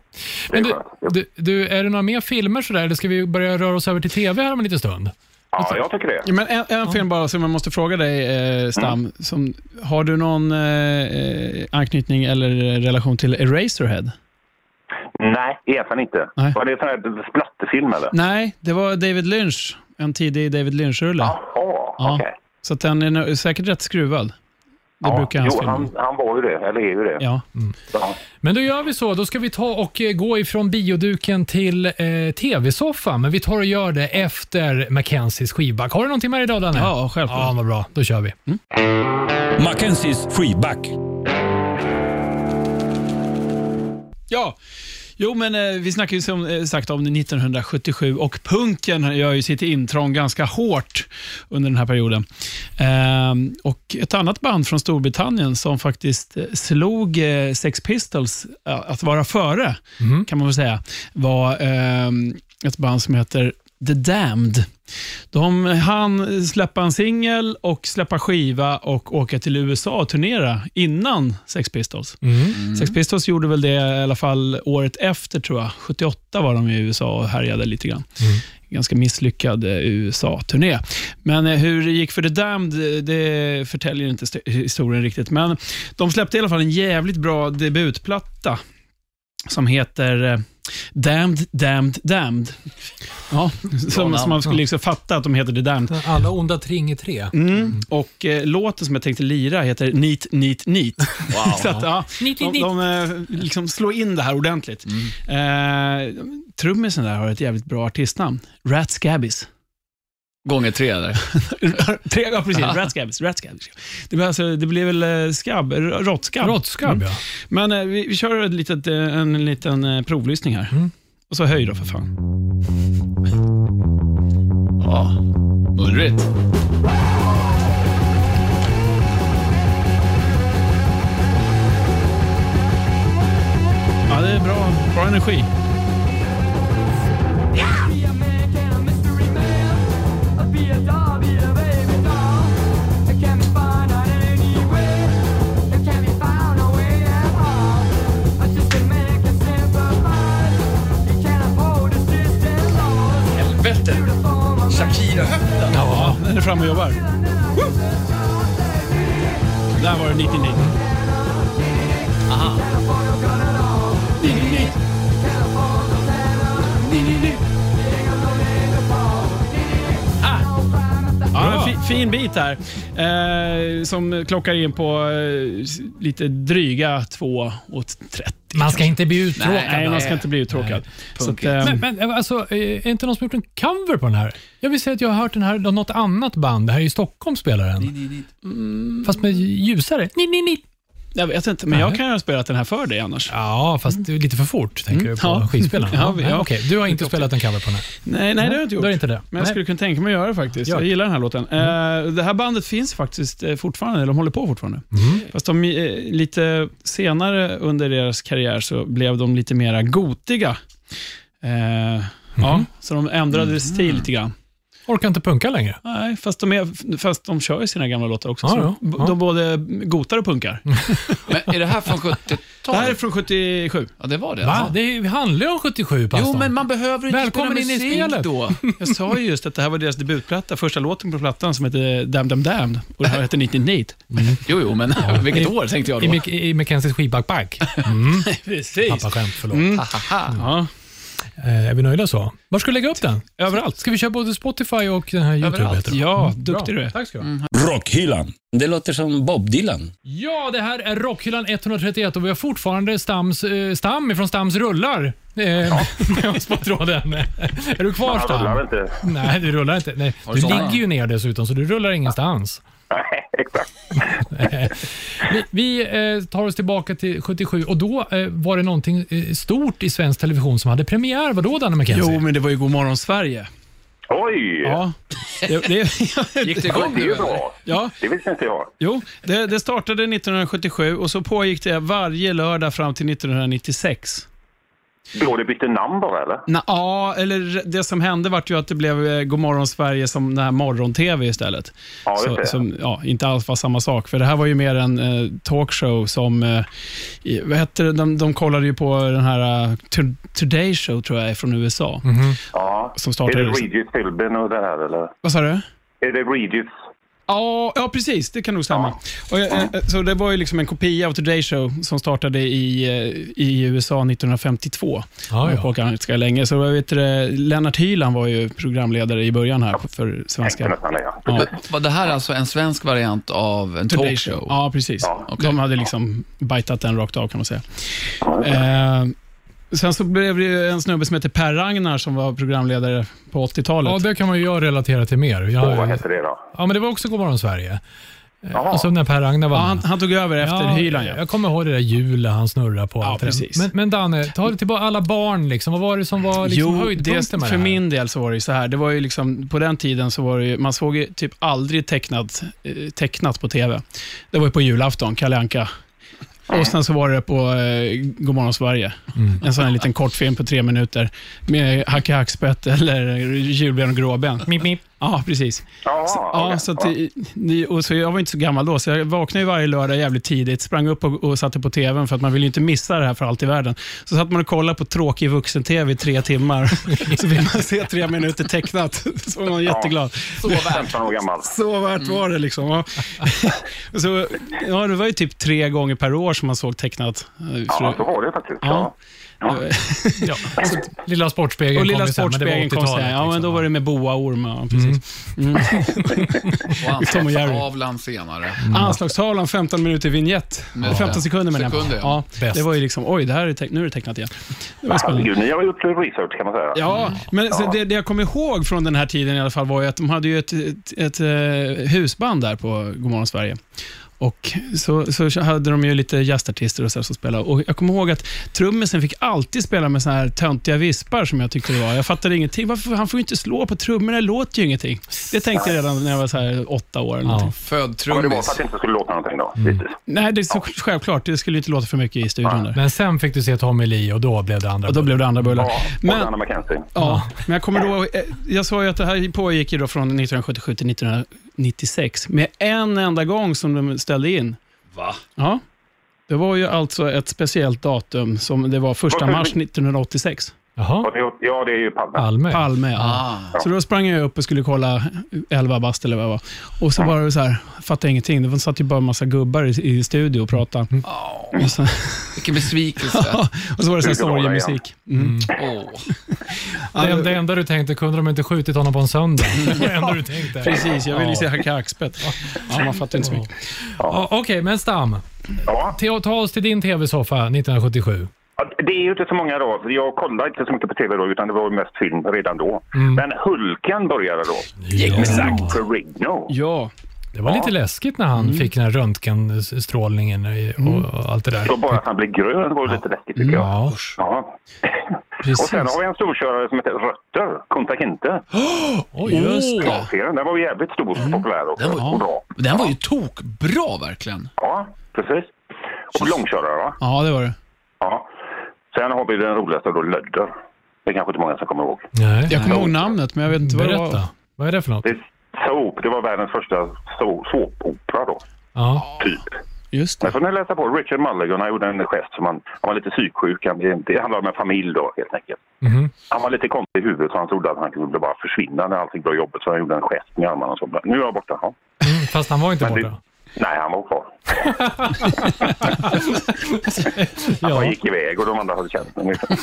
Speaker 3: Men
Speaker 6: Det är
Speaker 3: du,
Speaker 6: skönt.
Speaker 3: du, du, är det några mer filmer sådär, eller ska vi börja röra oss över till TV här om en liten stund?
Speaker 6: Ja, jag tycker det.
Speaker 2: Ja, Men en, en film bara som jag måste fråga dig, eh, Stam. Som, har du någon eh, eh, anknytning eller relation till Eraserhead?
Speaker 6: Nej, egentligen inte.
Speaker 2: Nej.
Speaker 6: Var det en sån här splatterfilm eller?
Speaker 2: Nej, det var David Lynch. En tidig David Lynch-rulle.
Speaker 6: Jaha,
Speaker 2: Ja.
Speaker 6: okej.
Speaker 2: Så att den är nog säkert rätt skruvad. Det
Speaker 6: Ja,
Speaker 2: brukar hans
Speaker 6: jo,
Speaker 2: filmer
Speaker 6: han, han var ju det, eller är ju det.
Speaker 2: Ja.
Speaker 6: Ja.
Speaker 3: Men då gör vi så. Då ska vi ta och eh, gå ifrån bioduken till eh, TV-soffan. Men vi tar och gör det efter Mackenzies skivback. Har du någonting med dig idag, Danne?
Speaker 2: ja, Mm. självklart.
Speaker 3: Ja, vad bra. Då kör vi.
Speaker 1: Mackenzies skivback.
Speaker 2: Ja, jo men eh, vi snackar ju som eh, sagt om 1977 och punken gör ju sitt intrång ganska hårt under den här perioden. Ehm, och ett annat band från Storbritannien som faktiskt eh, slog eh, Sex Pistols eh, att vara före, kan man väl säga, var ehm, ett band som heter The Damned. De han släppa en singel och släppa skiva och åka till USA och turnera innan Sex Pistols. Sex Pistols gjorde väl det i alla fall året efter, tror jag. 78 var de i USA och härjade lite grann. Ganska misslyckad eh, USA-turné. Men eh, hur det gick för The Damned, eh, det förtäljer inte st- historien riktigt. Men de släppte i alla fall en jävligt bra debutplatta som heter eh, Damned, Damned, Damned. Ja, som, som man skulle liksom fatta att de heter The Damned.
Speaker 3: Alla onda ting är tre.
Speaker 2: Mm. Och eh, låten som jag tänkte lira heter Neat, Neat, Neat. <laughs> Så att, ja,
Speaker 3: Neat,
Speaker 2: de
Speaker 3: neat,
Speaker 2: de eh, liksom slår in det här ordentligt. Eh, trummisen där har ett jävligt bra artistnamn. Rat Scabies.
Speaker 4: Gånger tre där.
Speaker 2: <laughs> Tre, ja, precis. Rat Scabies. Rat Scabies. Det, blir alltså, det blir väl eh, skabb, r- råttskabb.
Speaker 3: Råttskabb,
Speaker 2: Mm.
Speaker 3: ja.
Speaker 2: Men eh, vi, vi kör ett litet, eh, en liten eh, provlyssning här. Och så höj då för fan.
Speaker 4: Ja, mullrigt.
Speaker 2: Ja, det är bra, bra energi.
Speaker 5: Be a man, can a mystery man. Be a doll, be a baby doll. It can be found out anywhere. It can be found nowhere at all. A distant man can sympathize. He can uphold his distant laws.
Speaker 7: Helvete!
Speaker 5: Form of
Speaker 7: Shakira-höften.
Speaker 2: Ja, den är framme och jobbar. Woo! Där var det 99.
Speaker 5: Ah.
Speaker 2: Ja, en fi- fin bit här eh, som klockar in på eh, s- lite dryga 2 och 30.
Speaker 3: Man ska inte bli uttråkad. alltså.
Speaker 2: Nej, man ska inte bli uttråkad. Så att,
Speaker 4: Punkigt.
Speaker 2: ehm,
Speaker 3: Men, men alltså, är det inte någon som gjort en cover på den här? Jag vill säga att jag har hört den här av något annat band. Det här är i Stockholm spelar den. Mm. Fast med ljusare. Ni, ni, ni.
Speaker 2: jag vet inte, men jag
Speaker 3: Nej.
Speaker 2: kan ju ha spelat den här för dig annars.
Speaker 3: Ja, fast det är lite för fort tänker du på
Speaker 2: Mm. Ja. <laughs>
Speaker 3: skivspelaren.
Speaker 2: Ja, vi- ja.
Speaker 3: Okej, du har inte spelat en cover på den här.
Speaker 2: Nej, nej, det har jag inte gjort.
Speaker 3: Mm. Då är det inte det.
Speaker 2: Men jag
Speaker 3: Nej.
Speaker 2: skulle kunna tänka mig att göra det faktiskt.
Speaker 3: Gör
Speaker 2: Jag
Speaker 3: det. Mm.
Speaker 2: gillar den här låten. Eh, det här bandet finns faktiskt eh, fortfarande, eller de håller på fortfarande.
Speaker 3: Mm.
Speaker 2: Fast de, eh, lite senare under deras karriär så blev de lite mera gotiga. Eh,
Speaker 3: Mm.
Speaker 2: Ja, så de ändrade stil lite grann.
Speaker 3: Orkar inte punka längre.
Speaker 2: Nej, fast de, är, fast de kör ju sina gamla låtar också.
Speaker 3: Ja,
Speaker 2: så
Speaker 3: ja,
Speaker 2: de-
Speaker 3: ja.
Speaker 2: De både gotar och punkar.
Speaker 4: Men är det här från
Speaker 2: Det här är
Speaker 4: 70-talet?
Speaker 2: från 77.
Speaker 4: Ja, det var det.
Speaker 3: Va?
Speaker 4: alltså.
Speaker 3: Det är- handlar ju om 77 pastan.
Speaker 4: Jo, men man behöver inte
Speaker 3: Välkommen
Speaker 4: spela
Speaker 3: in i
Speaker 4: musik
Speaker 3: spelet.
Speaker 4: då.
Speaker 2: Jag sa ju just att det här var deras debutplatta, första låten på plattan som hette Damn Damn Damn och den här hette 99.
Speaker 4: Jo, jo, men <laughs> vilket år tänkte jag
Speaker 3: I,
Speaker 4: då?
Speaker 3: Mc- I Mackenzies
Speaker 2: <laughs>
Speaker 3: skivbackpack. Mm.
Speaker 2: Precis.
Speaker 3: Pappaskämt, förlåt.
Speaker 2: Mm. Ja.
Speaker 3: Eh, är vi nöjda så? Var ska du lägga upp den?
Speaker 2: Överallt.
Speaker 3: Ska vi köra både Spotify och den här YouTube? Heter det?
Speaker 2: Ja, duktig du Mm.
Speaker 3: Bra.
Speaker 2: är.
Speaker 3: Tack ska du Mm. ha.
Speaker 1: Rockhyllan. Det låter som Bob Dylan.
Speaker 3: Ja, det här är Rockhyllan 131 och vi har fortfarande Stams, eh, Stam från Stams rullar eh, <laughs> med oss
Speaker 2: <laughs>
Speaker 3: på tråden. Är du kvar
Speaker 6: Han rullar
Speaker 3: Stam?
Speaker 6: inte.
Speaker 3: Nej, du rullar inte. Nej, du
Speaker 4: sådana?
Speaker 3: ligger ju ner dessutom, så du rullar ingenstans. <laughs>
Speaker 6: Nej, <laughs> exakt.
Speaker 3: Vi, vi eh, tar oss tillbaka till 77 och då eh, var det någonting eh, stort i svensk television som hade premiär. Vadå Danne McKenzie?
Speaker 2: Jo, men det var ju Godmorgon Sverige.
Speaker 6: Oj!
Speaker 2: Ja. Det, det, <laughs>
Speaker 4: Gick det
Speaker 6: Ja,
Speaker 4: igång
Speaker 6: det är ju
Speaker 4: nu?
Speaker 6: bra.
Speaker 2: ja,
Speaker 6: Det visste inte jag.
Speaker 2: jo. Det, det startade 1977 och så pågick det varje lördag fram till 1996.
Speaker 6: Då det bytte namn bara, eller?
Speaker 2: Na, ja, eller det som hände var ju att det blev eh, Godmorgon Sverige som den här morgon-tv istället.
Speaker 6: Ja, just
Speaker 2: så,
Speaker 6: det.
Speaker 2: som ja, inte alls var samma sak, för det här var ju mer en eh, talkshow som... Eh, i- vad hette det? De, de kollade ju på den här eh, To- Today Show, tror jag, är från USA.
Speaker 6: Ja.
Speaker 2: Som startade-
Speaker 6: Är det Regis Philbin och det här, eller?
Speaker 2: Vad sa du?
Speaker 6: Är det Regis?
Speaker 2: Ja, ja, precis. Det kan nog stämma. Och, eh, eh, så det var ju liksom en kopia av Today Show som startade i, eh, i USA 1952.
Speaker 3: Ja,
Speaker 2: Ja,
Speaker 3: ja.
Speaker 2: ja. ganska länge. Så jag vet det, Lennart Hyland var ju programledare i början här för
Speaker 6: Tänkte
Speaker 2: svenska.
Speaker 6: nästan det, ja.
Speaker 2: Ja.
Speaker 4: Var det här alltså en svensk variant av en
Speaker 2: Today
Speaker 4: talkshow?
Speaker 2: Ja, precis.
Speaker 6: Ja,
Speaker 4: okej.
Speaker 2: De hade liksom bitat den rakt av kan man säga. Eh, sen så blev det ju en snubbe som heter Per Ragnar som var programledare på
Speaker 3: Ja,
Speaker 2: 80-talet.
Speaker 3: det kan man ju jag relatera till mer.
Speaker 6: Och vad
Speaker 3: Jag,
Speaker 6: hette det då?
Speaker 3: ja, men det var också Godmorgon Sverige.
Speaker 2: Eh,
Speaker 6: Jaha.
Speaker 3: Alltså när Per Ragnar var
Speaker 2: Ja,
Speaker 3: med.
Speaker 2: han, han tog över efter Hyland. Ja.
Speaker 3: Jag kommer ihåg det där hjulet han snurrar på.
Speaker 2: Ja,
Speaker 3: allt det där.
Speaker 2: precis.
Speaker 3: Men, men Danne, ta det tillbaka alla barn. Liksom. Vad var det som var liksom,
Speaker 2: det,
Speaker 3: höjdpunkten med
Speaker 2: för
Speaker 3: det här?
Speaker 2: min del så var det ju så här. Det var ju liksom, på den tiden så var det ju, man såg ju typ aldrig tecknat, eh, tecknat på tv. Det var ju på julafton, Kalle Anka. Och sen så var det på eh, Godmorgon Sverige. En sån här liten kortfilm på tre minuter med Hacke Hackspett eller Julben och Gråben.
Speaker 3: Mip, mip.
Speaker 2: Ja, precis.
Speaker 6: Jaha,
Speaker 2: Så,
Speaker 6: okej.
Speaker 2: ja, så, att, det- ni- och så jag var inte så gammal då, så jag vaknade ju varje lördag jävligt tidigt, sprang upp och, och satte på tvn för att man ville ju inte missa det här för allt i världen. Så satt man och kollade på tråkig vuxen-tv i tre timmar, <laughs> så vill man se tre minuter tecknat. <laughs> Så var man jätteglad.
Speaker 4: Så värt.
Speaker 6: 15 år
Speaker 2: <laughs>
Speaker 6: gammal.
Speaker 2: Så värt var det liksom. Ja. <laughs> Och så, ja, det var ju typ tre gånger per år som man såg tecknat.
Speaker 6: Ja,
Speaker 2: Så-
Speaker 6: så var det faktiskt.
Speaker 2: Ja.
Speaker 6: Ja.
Speaker 3: Ja. så Lilla Sportspegeln
Speaker 2: Och Lilla
Speaker 3: kom ju sen, men det var
Speaker 2: Sportspegeln kom sen.
Speaker 3: 80-talet,
Speaker 2: Ja, men
Speaker 3: liksom.
Speaker 2: då var det med boa och orm. Ja, precis.
Speaker 4: Och
Speaker 2: Tom och Jerry. Mm.
Speaker 4: anslagstavlan senare.
Speaker 2: Anslagstavlan, 15 minuter vignett.
Speaker 4: Mm.
Speaker 2: 15 sekunder menar jag.
Speaker 4: Sekunder,
Speaker 2: ja.
Speaker 4: ja.
Speaker 3: Bäst.
Speaker 2: Det var ju liksom, oj, det här är teck- nu är det tecknat igen. Det var ju spännande.
Speaker 6: Gud, ni har gjort research kan man säga.
Speaker 2: Ja, men så det, det jag kommer ihåg från den här tiden i alla fall var ju att de hade ju ett, ett, ett eh, husband där på Godmorgon Sverige. Och så, så hade de ju lite gästartister och så här som spelade. Och jag kommer ihåg att trummisen fick alltid spela med såna här töntiga vispar som jag tyckte det var. Jag fattade ingenting. Varför, han får ju inte slå på trummorna, det låter ju ingenting. Det tänkte jag redan när jag var så här åtta år. Eller
Speaker 3: liksom.
Speaker 2: någonting.
Speaker 4: Född
Speaker 6: Men det var för
Speaker 4: trummis.
Speaker 6: att det inte skulle låta någonting
Speaker 2: Mm.
Speaker 6: då. Precis.
Speaker 2: Nej, det är så, självklart. Det skulle ju inte låta för mycket i studion. Där.
Speaker 3: Men sen fick du se Tommy Lee och då blev det andra.
Speaker 2: Och då blev det andra bullar.
Speaker 6: Ja, och
Speaker 2: Men,
Speaker 6: Anna Mackenzie.
Speaker 2: Ja, men jag kommer då... eh, Jag sa ju att det här pågick ju då från 1977 till 1996 med en enda gång som de ställde in.
Speaker 4: Va?
Speaker 2: Ja. Det var ju alltså ett speciellt datum som det var första
Speaker 6: Varför-
Speaker 2: mars 1986.
Speaker 3: Jaha,
Speaker 6: Och det- Ja, det är ju Palme.
Speaker 3: Palme.
Speaker 2: Palme, ja.
Speaker 4: Ah.
Speaker 2: Så då sprang jag upp och skulle kolla 11 bast eller vad jag var. Och så var det så här, fattade jag ingenting. Det satt ju bara en massa gubbar i, i studio och pratade. Och, så, <laughs>
Speaker 4: Vilken besvikelse.
Speaker 2: och så var det så här sorgemusik. Mm.
Speaker 4: Åh.
Speaker 3: Det, det enda du tänkte, kunde de inte skjutit honom på
Speaker 2: <laughs>
Speaker 3: en söndag? det enda du tänkte.
Speaker 2: Precis, jag ville ju
Speaker 3: Ja.
Speaker 2: se Hacke Axpett. Ja, man fattar inte så mycket.
Speaker 3: Ja, Okej, men Stam.
Speaker 6: Ja.
Speaker 3: Ta ta oss till din tv-soffa 1977.
Speaker 6: Ja, Det är ju inte så många då. för Jag kollade inte så mycket på tv då, utan det var ju mest film redan då.
Speaker 2: Mm.
Speaker 6: Men Hulken började då. Exakt. Ferrigno.
Speaker 2: Ja, Mm.
Speaker 3: Det var lite läskigt när han fick den här röntgenstrålningen i- och, och allt det där.
Speaker 6: Så bara att han blev grön var ju lite läskigt
Speaker 2: Mm.
Speaker 6: tycker jag.
Speaker 3: Ja,
Speaker 6: Ja.
Speaker 3: precis.
Speaker 6: Och sen har vi en storkörare som heter Rötter, Kunta Kinte.
Speaker 3: Oj,
Speaker 2: Oh.
Speaker 3: just det.
Speaker 6: Serien, den var ju jävligt stor och populär också.
Speaker 4: Den var-
Speaker 6: och bra.
Speaker 4: Den var ju tokbra verkligen.
Speaker 6: Ja, precis. Och långkörare va?
Speaker 2: ja det var det.
Speaker 6: Ja. Sen har vi den roligaste då, Lödder. Det är kanske inte många som kommer ihåg.
Speaker 3: Nej.
Speaker 2: Jag kommer ihåg namnet, men jag vet inte vad det var.
Speaker 3: Berätta. Vad är det för något?
Speaker 6: Det är Soap, det var världens första so- såpopera då,
Speaker 3: Ja.
Speaker 6: typ.
Speaker 2: Just
Speaker 6: Men
Speaker 2: det.
Speaker 6: får ni läsa på. Richard Mulligan han gjorde en gest som han, han var lite psyksjuk. Han, det handlade om en familj då helt enkelt.
Speaker 3: Mhm.
Speaker 6: Han var lite konstig i huvudet så han trodde att han kunde bara försvinna när allting blev jobbigt. Så han gjorde en gest med armarna och så. bara, Nu är jag borta. Ja.
Speaker 3: Mm, fast han var inte
Speaker 6: Men det-
Speaker 3: borta.
Speaker 6: Nej, han var kvar. Han bara
Speaker 3: Ja,
Speaker 6: gick iväg och de andra hade känt honom. liksom.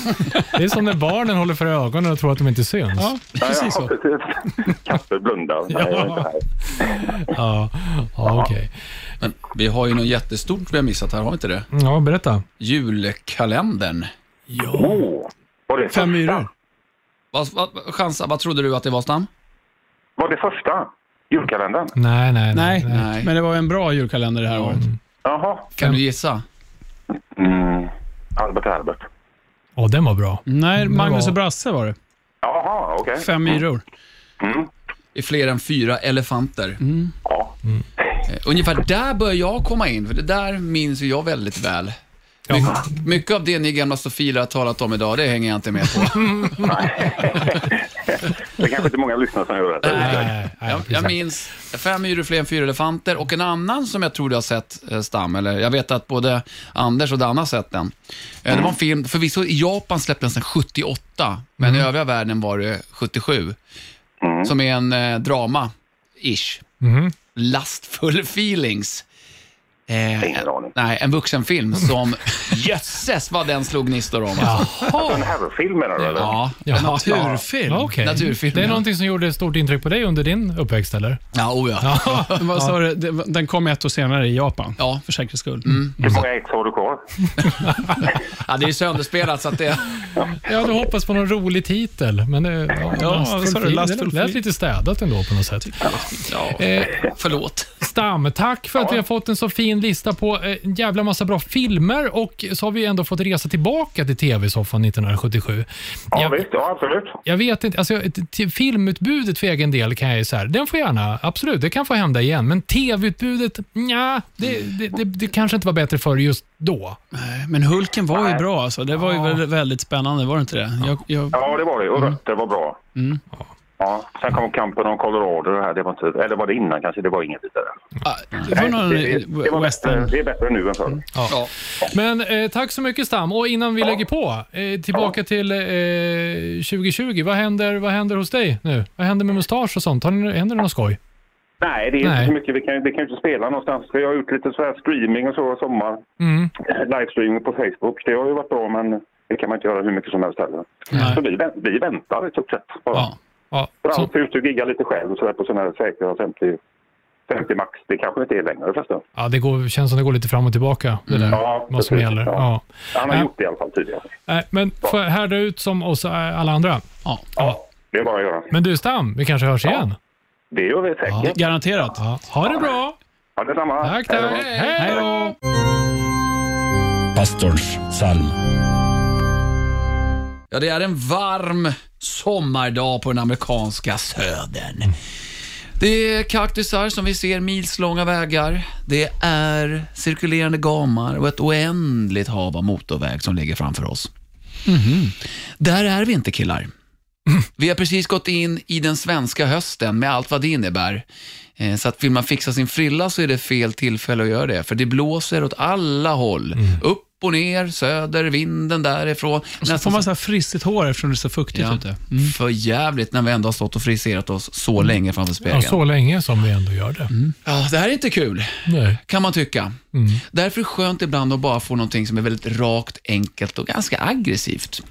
Speaker 3: det är som när barnen håller för ögonen och tror att de inte syns.
Speaker 2: Ja, <laughs> precis
Speaker 6: Ja,
Speaker 2: så.
Speaker 6: precis. Kasper blundar. Nej, jag är inte här.
Speaker 3: Ja, ja okej.
Speaker 4: Men vi har ju något jättestort vi har missat här, har vi inte det?
Speaker 3: Ja, berätta.
Speaker 4: Julkalendern.
Speaker 6: Åh, var
Speaker 2: Fem
Speaker 6: det första?
Speaker 2: myror.
Speaker 4: Vad, vad, chansa, vad trodde du att det var, Stam?
Speaker 6: Var det första? Julkalendern?
Speaker 3: Nej, nej, nej.
Speaker 2: Nej,
Speaker 3: nej.
Speaker 4: Nej.
Speaker 2: men det var en bra julkalender det här året.
Speaker 6: Jaha.
Speaker 4: Kan du gissa?
Speaker 6: Mm. Albert Albert.
Speaker 3: Åh, den var bra.
Speaker 2: Nej, Magnus
Speaker 3: var-
Speaker 2: och Brasse var det.
Speaker 6: Jaha, okej.
Speaker 2: Fem myror.
Speaker 4: I fler än fyra elefanter.
Speaker 6: Ja.
Speaker 4: Eh, Ungefär där börjar jag komma in, för det där minns ju jag väldigt väl. My, mycket av det ni gamla sofiler har talat om idag, det hänger jag inte med på.
Speaker 6: Det är kanske inte många lyssnare som gör det.
Speaker 3: Nej, nej, nej,
Speaker 4: Jag, jag
Speaker 3: precis.
Speaker 4: minns fem myror fler än fyra elefanter och en annan som jag tror du har sett, eh, Stam, eller jag vet att både Anders och Danne har sett den. Eh, Det var en film, förvisso i Japan släpptes den 78, men
Speaker 3: Mm.
Speaker 4: i övriga världen var det 77,
Speaker 6: Mm.
Speaker 4: som är en eh, drama-ish.
Speaker 3: Mm-hmm.
Speaker 4: Lastful feelings. Eh,
Speaker 6: Ingen aning.
Speaker 4: nej, en
Speaker 3: <laughs>
Speaker 4: vuxenfilm som jösses vad den slog gnistor om. Alltså.
Speaker 6: En herrfilm menar du? eller?
Speaker 4: Ja,
Speaker 3: Ja.
Speaker 4: en natur.
Speaker 2: Urfilm.
Speaker 3: Ja, okej.
Speaker 4: Naturfilm,
Speaker 3: Det är
Speaker 4: ja.
Speaker 3: någonting som gjorde stort intryck på dig under din uppväxt, eller?
Speaker 4: Ja, oh ja.
Speaker 2: Vad sa du? Det var- Den kom ett år senare i Japan,
Speaker 4: Ja.
Speaker 2: för säkerhets skull.
Speaker 6: Hur många ex har du kvar?
Speaker 4: <laughs> ja, det är ju sönderspelat så att det...
Speaker 3: Ja, du hoppas på någon rolig titel, men det, ja,
Speaker 2: vad sa du?
Speaker 3: Feeling.
Speaker 2: Lastful
Speaker 3: det lät
Speaker 2: Feeling.
Speaker 3: lite städat ändå på något sätt.
Speaker 4: Ja,
Speaker 3: Eh,
Speaker 4: förlåt.
Speaker 3: Stam, tack för att vi har fått en så fin lista på eh, en jävla massa bra filmer och så har vi ändå fått resa tillbaka till tv-soffan 1977.
Speaker 6: Ja,
Speaker 3: jag,
Speaker 6: visst. Ja, absolut.
Speaker 3: jag vet inte, alltså, ett- till filmutbudet för egen del kan jag ju så här, den får gärna, absolut, det kan få hända igen, men tv-utbudet, nja, det, det, det, det kanske inte var bättre för just då.
Speaker 2: Nej, Eh, Men Hulken var ju
Speaker 6: Nej.
Speaker 2: bra alltså. Det var ju väldigt, väldigt spännande, var det inte det? Jag, jag,
Speaker 6: Ja, det var det. Och
Speaker 2: Mm.
Speaker 6: rötter var bra. Ja, sen kom kampen om Colorado. Det här, det var inte, eller var det innan kanske? Det var inget vidare.
Speaker 2: Ah, det var någon
Speaker 6: det, det, det, var bättre,
Speaker 2: western.
Speaker 6: det är bättre nu än
Speaker 3: Mm.
Speaker 6: förr.
Speaker 4: Ja.
Speaker 3: Men eh, tack så mycket Stam. Och innan vi lägger på, eh, tillbaka till eh, 2020. Vad händer, vad händer hos dig nu? Vad händer med mustasch och sånt? Har ni, händer det något skoj?
Speaker 6: Nej, det är
Speaker 3: Nej.
Speaker 6: inte så mycket. Vi kan, vi kan ju inte spela någonstans. Vi har gjort lite så här streaming och så i sommar.
Speaker 3: Mm.
Speaker 6: <clears throat> Livestreaming på Facebook. Det har ju varit bra, men det kan man inte göra hur mycket som helst heller. Så vi, vänt- vi väntar i stort sett. bara.
Speaker 2: Ja.
Speaker 3: Ja,
Speaker 6: Dra
Speaker 3: så,
Speaker 6: ut ut och gigga lite själv och så där på sådana här säkra 50, 50 max. Det kanske inte är längre förresten.
Speaker 3: ja, det går, känns som det går lite fram och tillbaka, det där,
Speaker 6: Ja,
Speaker 3: vad som
Speaker 6: Mm. precis,
Speaker 3: gäller. Ja.
Speaker 6: ja. Han har
Speaker 3: Ja.
Speaker 6: gjort det i alla fall tidigare.
Speaker 3: Nej, men får jag härda ut som oss eh, alla andra?
Speaker 2: Ja.
Speaker 6: Ja, det är bara att göra.
Speaker 3: Men du Stam, vi kanske hörs igen?
Speaker 6: Det gör vi säkert.
Speaker 2: Garanterat.
Speaker 3: Ja. Ha det bra!
Speaker 6: Ja, detsamma.
Speaker 3: Tack, tack!
Speaker 6: Hej då.
Speaker 3: Hej då!
Speaker 1: Pastorns psalm.
Speaker 4: Ja, det är en varm sommardag på den amerikanska södern. Det är kaktusar som vi ser milslånga vägar. Det är cirkulerande gamar och ett oändligt hav av motorväg som ligger framför oss.
Speaker 2: Mhm.
Speaker 4: Där är vi inte killar.
Speaker 2: Mm.
Speaker 4: Vi har precis gått in i den svenska hösten med allt vad det innebär. Eh, Så att vill man fixa sin frilla så är det fel tillfälle att göra det. För det blåser åt alla håll.
Speaker 2: Mm.
Speaker 4: Upp och ner, söder, vinden därifrån.
Speaker 2: Så
Speaker 4: Nästan
Speaker 2: får man så här frissigt hår eftersom det är så fuktigt
Speaker 4: Ja.
Speaker 2: ute.
Speaker 4: För jävligt när vi ändå har stått och friserat oss Mm. så länge framför spegeln.
Speaker 3: Ja, så länge som vi ändå gör det.
Speaker 4: Ja, det här är inte kul,
Speaker 3: Nej.
Speaker 4: kan man tycka. Därför är det skönt ibland att bara få någonting som är väldigt rakt, enkelt och ganska aggressivt.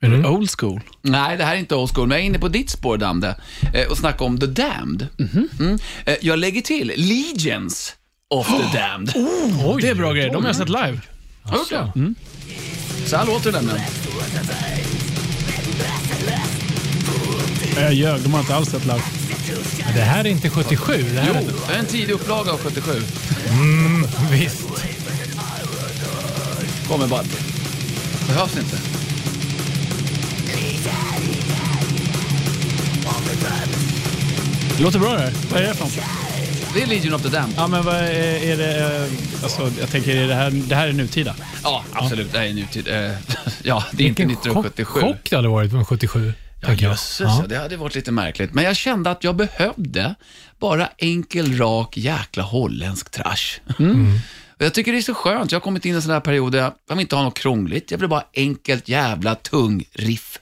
Speaker 2: Är
Speaker 4: Mm.
Speaker 2: det old school?
Speaker 4: Nej, det här är inte old school, men jag är inne på ditt spår, Damde, eh, och snackar om The Damned. Mm. Eh, Jag lägger till Legions of <gasps> the Damned.
Speaker 2: Oj, det är bra grejer. De har jag sett live.
Speaker 4: Oh, Har du det? Så här låter det nämligen.
Speaker 2: Nej, Jag ljög. De har inte alls sett live.
Speaker 3: Men det här är inte 77. Det här
Speaker 4: Jo,
Speaker 3: är
Speaker 4: det är en tidig upplaga av 77.
Speaker 3: Visst.
Speaker 4: Kommer bara. Behövs inte.
Speaker 2: Det låter bra det här. Vad är det för något?
Speaker 4: Det är Legion of the Damned.
Speaker 2: Ja, men vad är, är det... eh, Alltså, jag tänker, är det här, det här är nutida.
Speaker 4: Ja, absolut. Det här är nutid. eh, <laughs> Ja, det är inte
Speaker 3: Vilken chock-
Speaker 4: 1977.
Speaker 3: chock det hade varit med 77.
Speaker 4: Ja,
Speaker 3: tänker jag.
Speaker 4: jösses, ja. det hade varit lite märkligt. Men jag kände att jag behövde bara enkel, rak, jäkla holländsk trash. Mm. Och Jag tycker det är så skönt. Jag har kommit in i en sån här period där jag vill inte ha något krångligt. Jag vill bara ha enkelt, jävla, tung riff.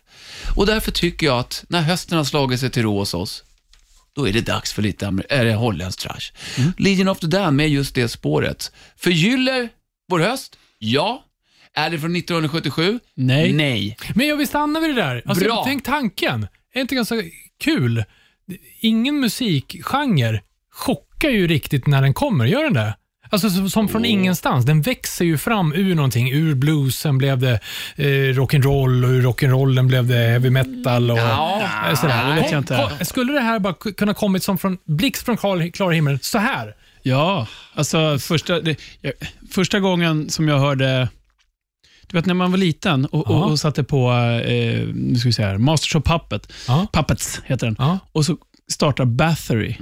Speaker 4: Och därför tycker jag att när hösten har slagit sig till ro hos oss, då är det dags för lite amer- är det holländsk trash. Legion of the Dam med just det spåret. Förgyller vår höst? Ja. Är det från 1977?
Speaker 2: Nej.
Speaker 4: Nej.
Speaker 3: Men jag vill stanna vid det där. Alltså,
Speaker 4: Bra.
Speaker 3: Tänk tanken. Är inte ganska kul? Ingen musikgenre chockar ju riktigt när den kommer. Gör den det? Alltså som, som från ingenstans. Den växer ju fram ur någonting. Ur bluesen blev det eh, rock'n'roll och ur rock'n'rollen blev det heavy metal. Och,
Speaker 4: Ja.
Speaker 3: eh, sådär.
Speaker 2: det vet jag inte.
Speaker 3: Kom- kom- Skulle det här bara ku- kunna kommit som från blixt från klar, klar himmel, så här?
Speaker 2: Ja, alltså första, det, jag, första gången som jag hörde... Du vet när man var liten och,
Speaker 3: Ja.
Speaker 2: och, och satte på eh, nu ska vi se här, Masters of Puppet.
Speaker 3: Ja.
Speaker 2: Puppets heter den.
Speaker 3: Ja. Mm.
Speaker 2: Och så startar Bathory.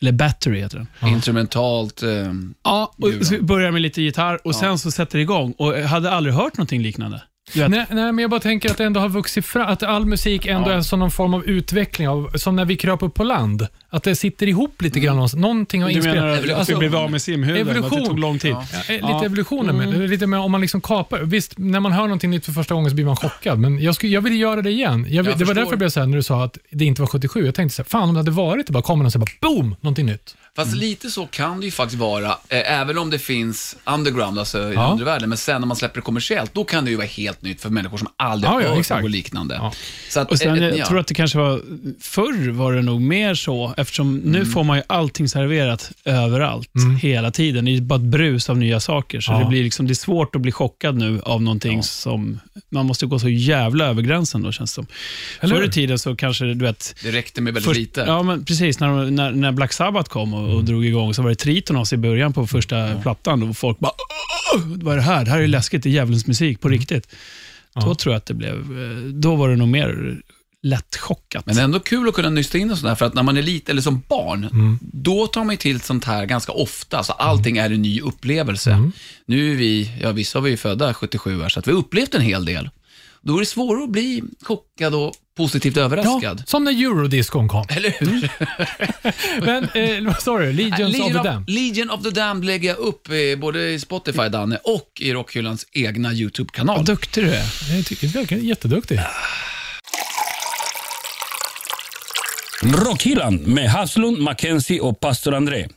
Speaker 2: Eller Battery heter den.
Speaker 4: Instrumentalt. ehm,
Speaker 2: Ja,
Speaker 4: Gud,
Speaker 2: och så börjar med lite gitarr och sen så sätter det igång. Och jag hade aldrig hört någonting liknande. Du vet,
Speaker 3: Nej, nej, men jag bara tänker att det ändå har vuxit fram, att all musik ändå är som någon form av utveckling, av, som när vi kröp upp på land. Att det sitter ihop lite grann. någonstans. Någonting har
Speaker 2: Mm. du menar
Speaker 3: inspirerat.
Speaker 2: att vi
Speaker 3: Alltså,
Speaker 2: blev av med simhuden? att
Speaker 3: evolution.
Speaker 2: Det tog lång tid. Mm.
Speaker 3: ja, eh, lite evolutionen med det. Lite med om man liksom kapar. Visst, när man hör någonting nytt för första gången så blir man chockad, men jag, skulle, jag ville göra det igen. Jag,
Speaker 4: Jag
Speaker 3: det var
Speaker 4: förstår.
Speaker 3: därför jag blev såhär när du sa att det inte var 77. Jag tänkte såhär, fan om det hade varit det bara kommer någon och så bara boom, någonting nytt.
Speaker 4: Fast
Speaker 2: Mm.
Speaker 4: lite så kan det ju faktiskt vara, eh, även om det finns underground, alltså i
Speaker 3: Ja.
Speaker 4: undervärlden, men sen när man släpper det kommersiellt, då kan det ju vara helt nytt för människor som aldrig
Speaker 3: Ja,
Speaker 4: har
Speaker 3: ja,
Speaker 4: hört
Speaker 3: exakt.
Speaker 4: något liknande.
Speaker 3: Ja.
Speaker 4: Så att,
Speaker 2: Och sen,
Speaker 4: eh,
Speaker 2: jag
Speaker 4: ja.
Speaker 2: tror att det kanske var, förr var det nog mer så, eftersom nu får man ju allting serverat överallt, hela tiden. Det är bara ett brus av nya saker, så
Speaker 3: Ja.
Speaker 2: det, blir liksom, det är svårt att bli chockad nu av någonting som... Man måste gå så jävla över gränsen då, känns det som.
Speaker 3: Eller
Speaker 2: Förr i
Speaker 3: hur?
Speaker 2: tiden så kanske, du vet...
Speaker 4: det räckte med väldigt
Speaker 2: först-
Speaker 4: lite.
Speaker 2: ja, men precis. När, de- när, när Black Sabbath kom och, och drog igång, så var det Tritonos i början på första plattan och folk bara "Åh, Vad är det här? Det här är läskigt. Det är djävulens musik på riktigt. Då tror jag att det blev... eh, Då var det nog mer lättchockat.
Speaker 4: Men ändå kul att kunna nysta in och sådär, för att när man är liten, eller som barn,
Speaker 2: Mm.
Speaker 4: då tar man ju till sånt här ganska ofta. Så allting är en ny upplevelse.
Speaker 2: Mm.
Speaker 4: Nu är vi, ja vissa var ju födda 77 här, så att vi har upplevt en hel del. Då är det svårare att bli chockad och positivt
Speaker 3: Ja,
Speaker 4: överraskad.
Speaker 3: som när eurodiscon kom.
Speaker 4: Eller hur?
Speaker 3: Men, eh, <laughs> vad sa du? Legions of
Speaker 4: Äh, Legion,
Speaker 3: the Dam.
Speaker 4: Legion of the Damned lägger jag upp eh, både i Spotify, Danne, och i Rockhyllans egna YouTube-kanal.
Speaker 2: Vad duktig du är.
Speaker 3: Jag tycker du verkar jätteduktig.
Speaker 1: Rockhyllan med Haslund, Mackenzie och pastor André.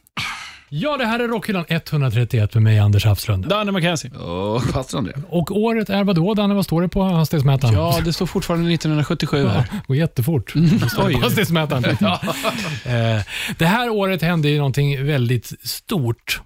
Speaker 3: Ja, det här är Rockhyllan 131 med mig, Anders Hafslund.
Speaker 2: Danne McKenzie.
Speaker 4: Åh, passar det?
Speaker 3: Och året är vadå, Danne? Vad står det på hastighetsmätaren?
Speaker 2: Ja, det står fortfarande 1977 här.
Speaker 3: Det går jättefort.
Speaker 2: Mm. Oj. <laughs>
Speaker 3: Hastighetsmätaren. Eh, det här året hände ju någonting väldigt stort.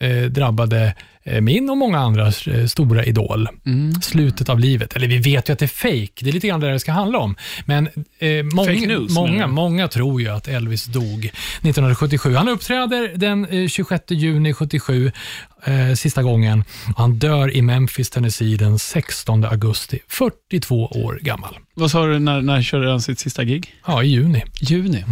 Speaker 3: Eh, drabbade eh, min och många andras eh, stora idol.
Speaker 2: Mm.
Speaker 3: Slutet av livet. Eller vi vet ju att det är fake. Det är lite grann det det ska handla om. Men eh, många,
Speaker 2: Fake news, menar
Speaker 3: många,
Speaker 2: du?
Speaker 3: många tror ju att Elvis dog 1977. Han uppträder den eh, 26 juni 77, eh, sista gången. Och han dör i Memphis, Tennessee den 16 augusti, 42 år gammal.
Speaker 2: Vad sa du, när, när körde han sitt sista gig? Mm.
Speaker 3: Ja, i juni.
Speaker 2: Juni.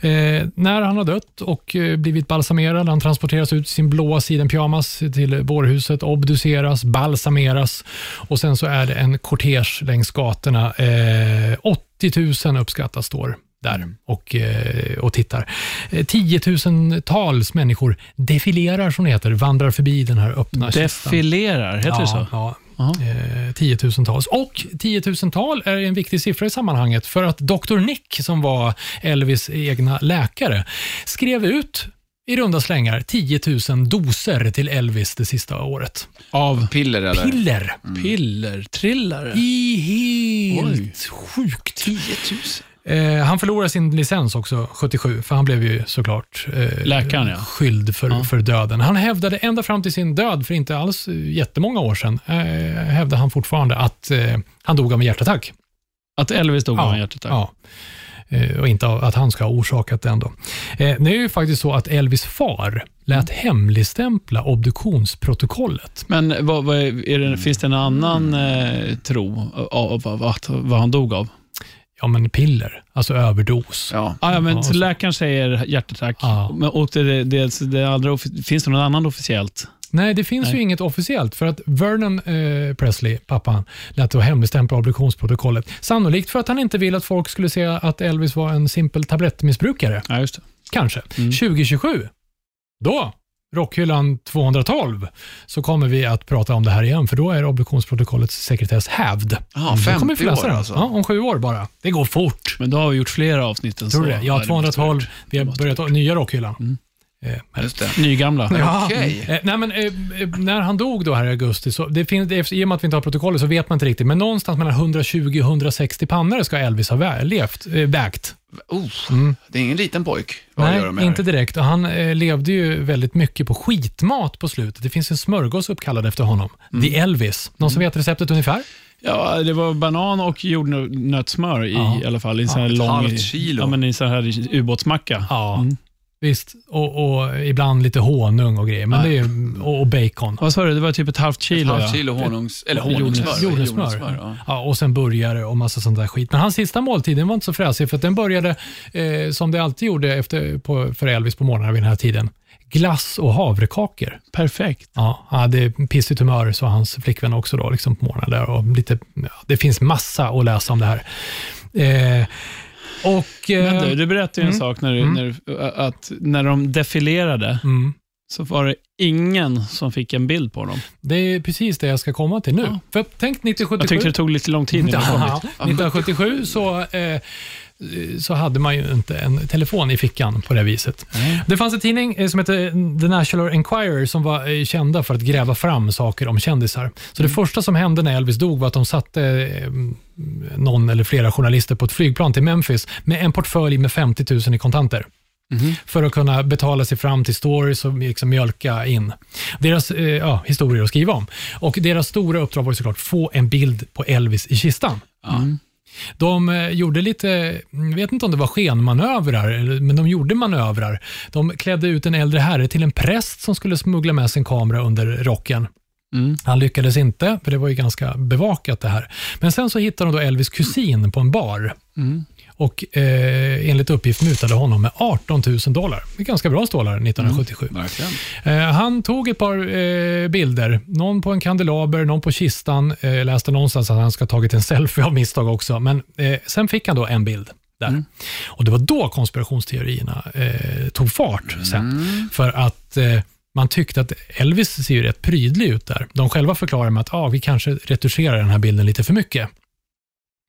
Speaker 3: Eh, när han har dött och eh, blivit balsamerad, han transporteras ut i sin blåa sidenpyjamas till vårhuset, obduceras, balsameras och sen så är det en kortege längs gatorna. Eh, 80 000 uppskattas står där och, eh, och tittar. Eh, tiotusentals människor defilerar, som det heter, vandrar förbi den här öppna kistan.
Speaker 2: Defilerar, heter det så?
Speaker 3: Ja,
Speaker 2: Aha.
Speaker 3: Eh, tiotusentals. Och tiotusental är en viktig siffra i sammanhanget för att Dr. Nick, som var Elvis egna läkare, skrev ut i runda slängar 10 000 doser till Elvis det sista året.
Speaker 2: Av
Speaker 4: Piller eller?
Speaker 3: Piller.
Speaker 2: pillertrillare.
Speaker 3: I helt sjukt.
Speaker 4: 10 000.
Speaker 3: Eh, han förlorade sin licens också 77, för han blev ju såklart eh,
Speaker 2: Läkaren, ja.
Speaker 3: skyld för, för döden. Han hävdade ända fram till sin död, för inte alls eh, jättemånga år sedan, eh, hävdade han fortfarande att eh, han dog av en hjärtattack.
Speaker 2: Att Elvis dog av en hjärtattack.
Speaker 3: Ja. Eh, Och inte att han ska ha orsakat den. Då. Eh, Det är ju faktiskt så att Elvis far lät hemligstämpla obduktionsprotokollet.
Speaker 2: Men vad, vad är, är det, finns det en annan eh, tro av, av, av att, vad han dog av?
Speaker 3: Ja, men piller, alltså överdos.
Speaker 4: Ja.
Speaker 2: Ah, ja, men
Speaker 3: Ja, så-
Speaker 2: läkaren säger hjärtattack.
Speaker 3: Ja.
Speaker 2: Men, och det, alltså, det, det andra, offi- finns det något annat officiellt?
Speaker 3: Nej, det finns ju inget officiellt för att Vernon eh, Presley, pappan, lät då hemligstämpla obduktionsprotokollet. Sannolikt för att han inte ville att folk skulle se att Elvis var en simpel tablettmissbrukare.
Speaker 2: Ja, just det.
Speaker 3: kanske.
Speaker 2: Mm.
Speaker 3: 2027, då, Rockhyllan 212, så kommer vi att prata om det här igen, för då är obduktionsprotokollets sekretess hävd.
Speaker 4: Ja,
Speaker 3: Mm, då kommer vi
Speaker 4: 50
Speaker 3: få läsa
Speaker 4: år
Speaker 3: den.
Speaker 4: alltså.
Speaker 3: Ja, om sju år bara. Det går fort.
Speaker 2: Men då har vi gjort flera avsnitt än
Speaker 3: Tror
Speaker 2: så.
Speaker 3: du det? Ja,
Speaker 2: det måste ha
Speaker 3: 212.
Speaker 2: varit Mm.
Speaker 3: Vi har börjat nya Rockhyllan. Eh, men-
Speaker 4: Just det.
Speaker 2: Nygamla.
Speaker 3: Ja.
Speaker 4: Okej.
Speaker 3: Eh, nej, men, eh, eh, när han dog då här i augusti, så det finns, det, i och med att vi inte har protokollet så vet man inte riktigt, men någonstans mellan 120 och 160 pannor ska Elvis ha vä- levt, eh, vägt.
Speaker 4: Oh, Det är ingen liten pojk. Vad gör de med
Speaker 3: Mm. Nej,
Speaker 4: det?
Speaker 3: inte direkt. Och han eh, levde ju väldigt mycket på skitmat på slutet. Det finns en smörgås uppkallad efter honom.
Speaker 4: Mm.
Speaker 3: The Elvis. Någon som vet receptet ungefär?
Speaker 2: Ja, det var banan och jordnötssmör i,
Speaker 3: Ja.
Speaker 2: i alla fall. I en sån här
Speaker 4: ett
Speaker 2: lång,
Speaker 4: halvt kilo.
Speaker 2: Ja, men i en sån här ubåtsmacka.
Speaker 3: Ja.
Speaker 4: Mm.
Speaker 3: Visst, och, och ibland lite honung och grejer. Men det är ju, och, och bacon.
Speaker 2: Vad sa du? Det var typ ett halvt kilo.
Speaker 4: Halvt
Speaker 2: ja.
Speaker 4: kilo honungs... Eller honungssmör.
Speaker 3: Jordnötssmör.
Speaker 4: ja.
Speaker 3: Ja, och sen burgare och massa sånt där skit. Men hans sista måltid den var inte så fräsig för att den började, eh, som det alltid gjorde efter, på, för Elvis på morgnarna vid den här tiden, glass och havrekakor.
Speaker 2: Perfekt.
Speaker 3: Ja, han hade pissigt humör, sa hans flickvän också då, liksom på morgonen. Där och lite, ja, det finns massa att läsa om det här. Eh, och... Eh,
Speaker 2: Men du, du berättade ju en sak när, du,
Speaker 3: Mm.
Speaker 2: när, du- att när de defilerade
Speaker 3: Mm,
Speaker 2: så var det ingen som fick en bild på dem.
Speaker 3: det är precis det jag ska komma till nu.
Speaker 2: Ja.
Speaker 3: För tänk 1977.
Speaker 2: Jag tyckte det tog lite lång tid innan det kom
Speaker 3: Ja,
Speaker 2: dit.
Speaker 3: 1977 så, eh, så hade man ju inte en telefon i fickan på det viset. Det fanns en tidning eh, som hette The National Enquirer som var eh, kända för att gräva fram saker om kändisar. Så det första som hände när Elvis dog var att de satte eh, någon eller flera journalister på ett flygplan till Memphis med en portfölj med 50 000 i kontanter för att kunna betala sig fram till stories och liksom mjölka in deras eh, ja, historier att skriva om. Och Deras stora uppdrag var ju såklart få en bild på Elvis i kistan. De eh, gjorde lite, jag vet inte om det var skenmanövrar, eller- men de gjorde manövrar. De klädde ut en äldre herre till en präst som skulle smuggla med sin kamera under rocken. Han lyckades inte, för det var ju ganska bevakat det här. Men sen så hittade de då Elvis kusin på en bar. Och eh, enligt uppgift mutade honom med 18 000 dollar. Det är ganska bra stålar 1977.
Speaker 4: Verkligen.
Speaker 3: Eh, han tog ett par eh, bilder. Någon på en kandelaber, någon på kistan. Eh, läste någonstans att han ska ha tagit en <laughs> selfie av misstag också. Men eh, sen fick han då en bild. Där.
Speaker 4: Mm.
Speaker 3: Och Det var då konspirationsteorierna eh, tog fart. sen.
Speaker 4: Mm.
Speaker 3: För att eh, man tyckte att Elvis ser ju rätt prydlig ut där. De själva förklarar med att ah, vi kanske retuscherar den här bilden lite för mycket.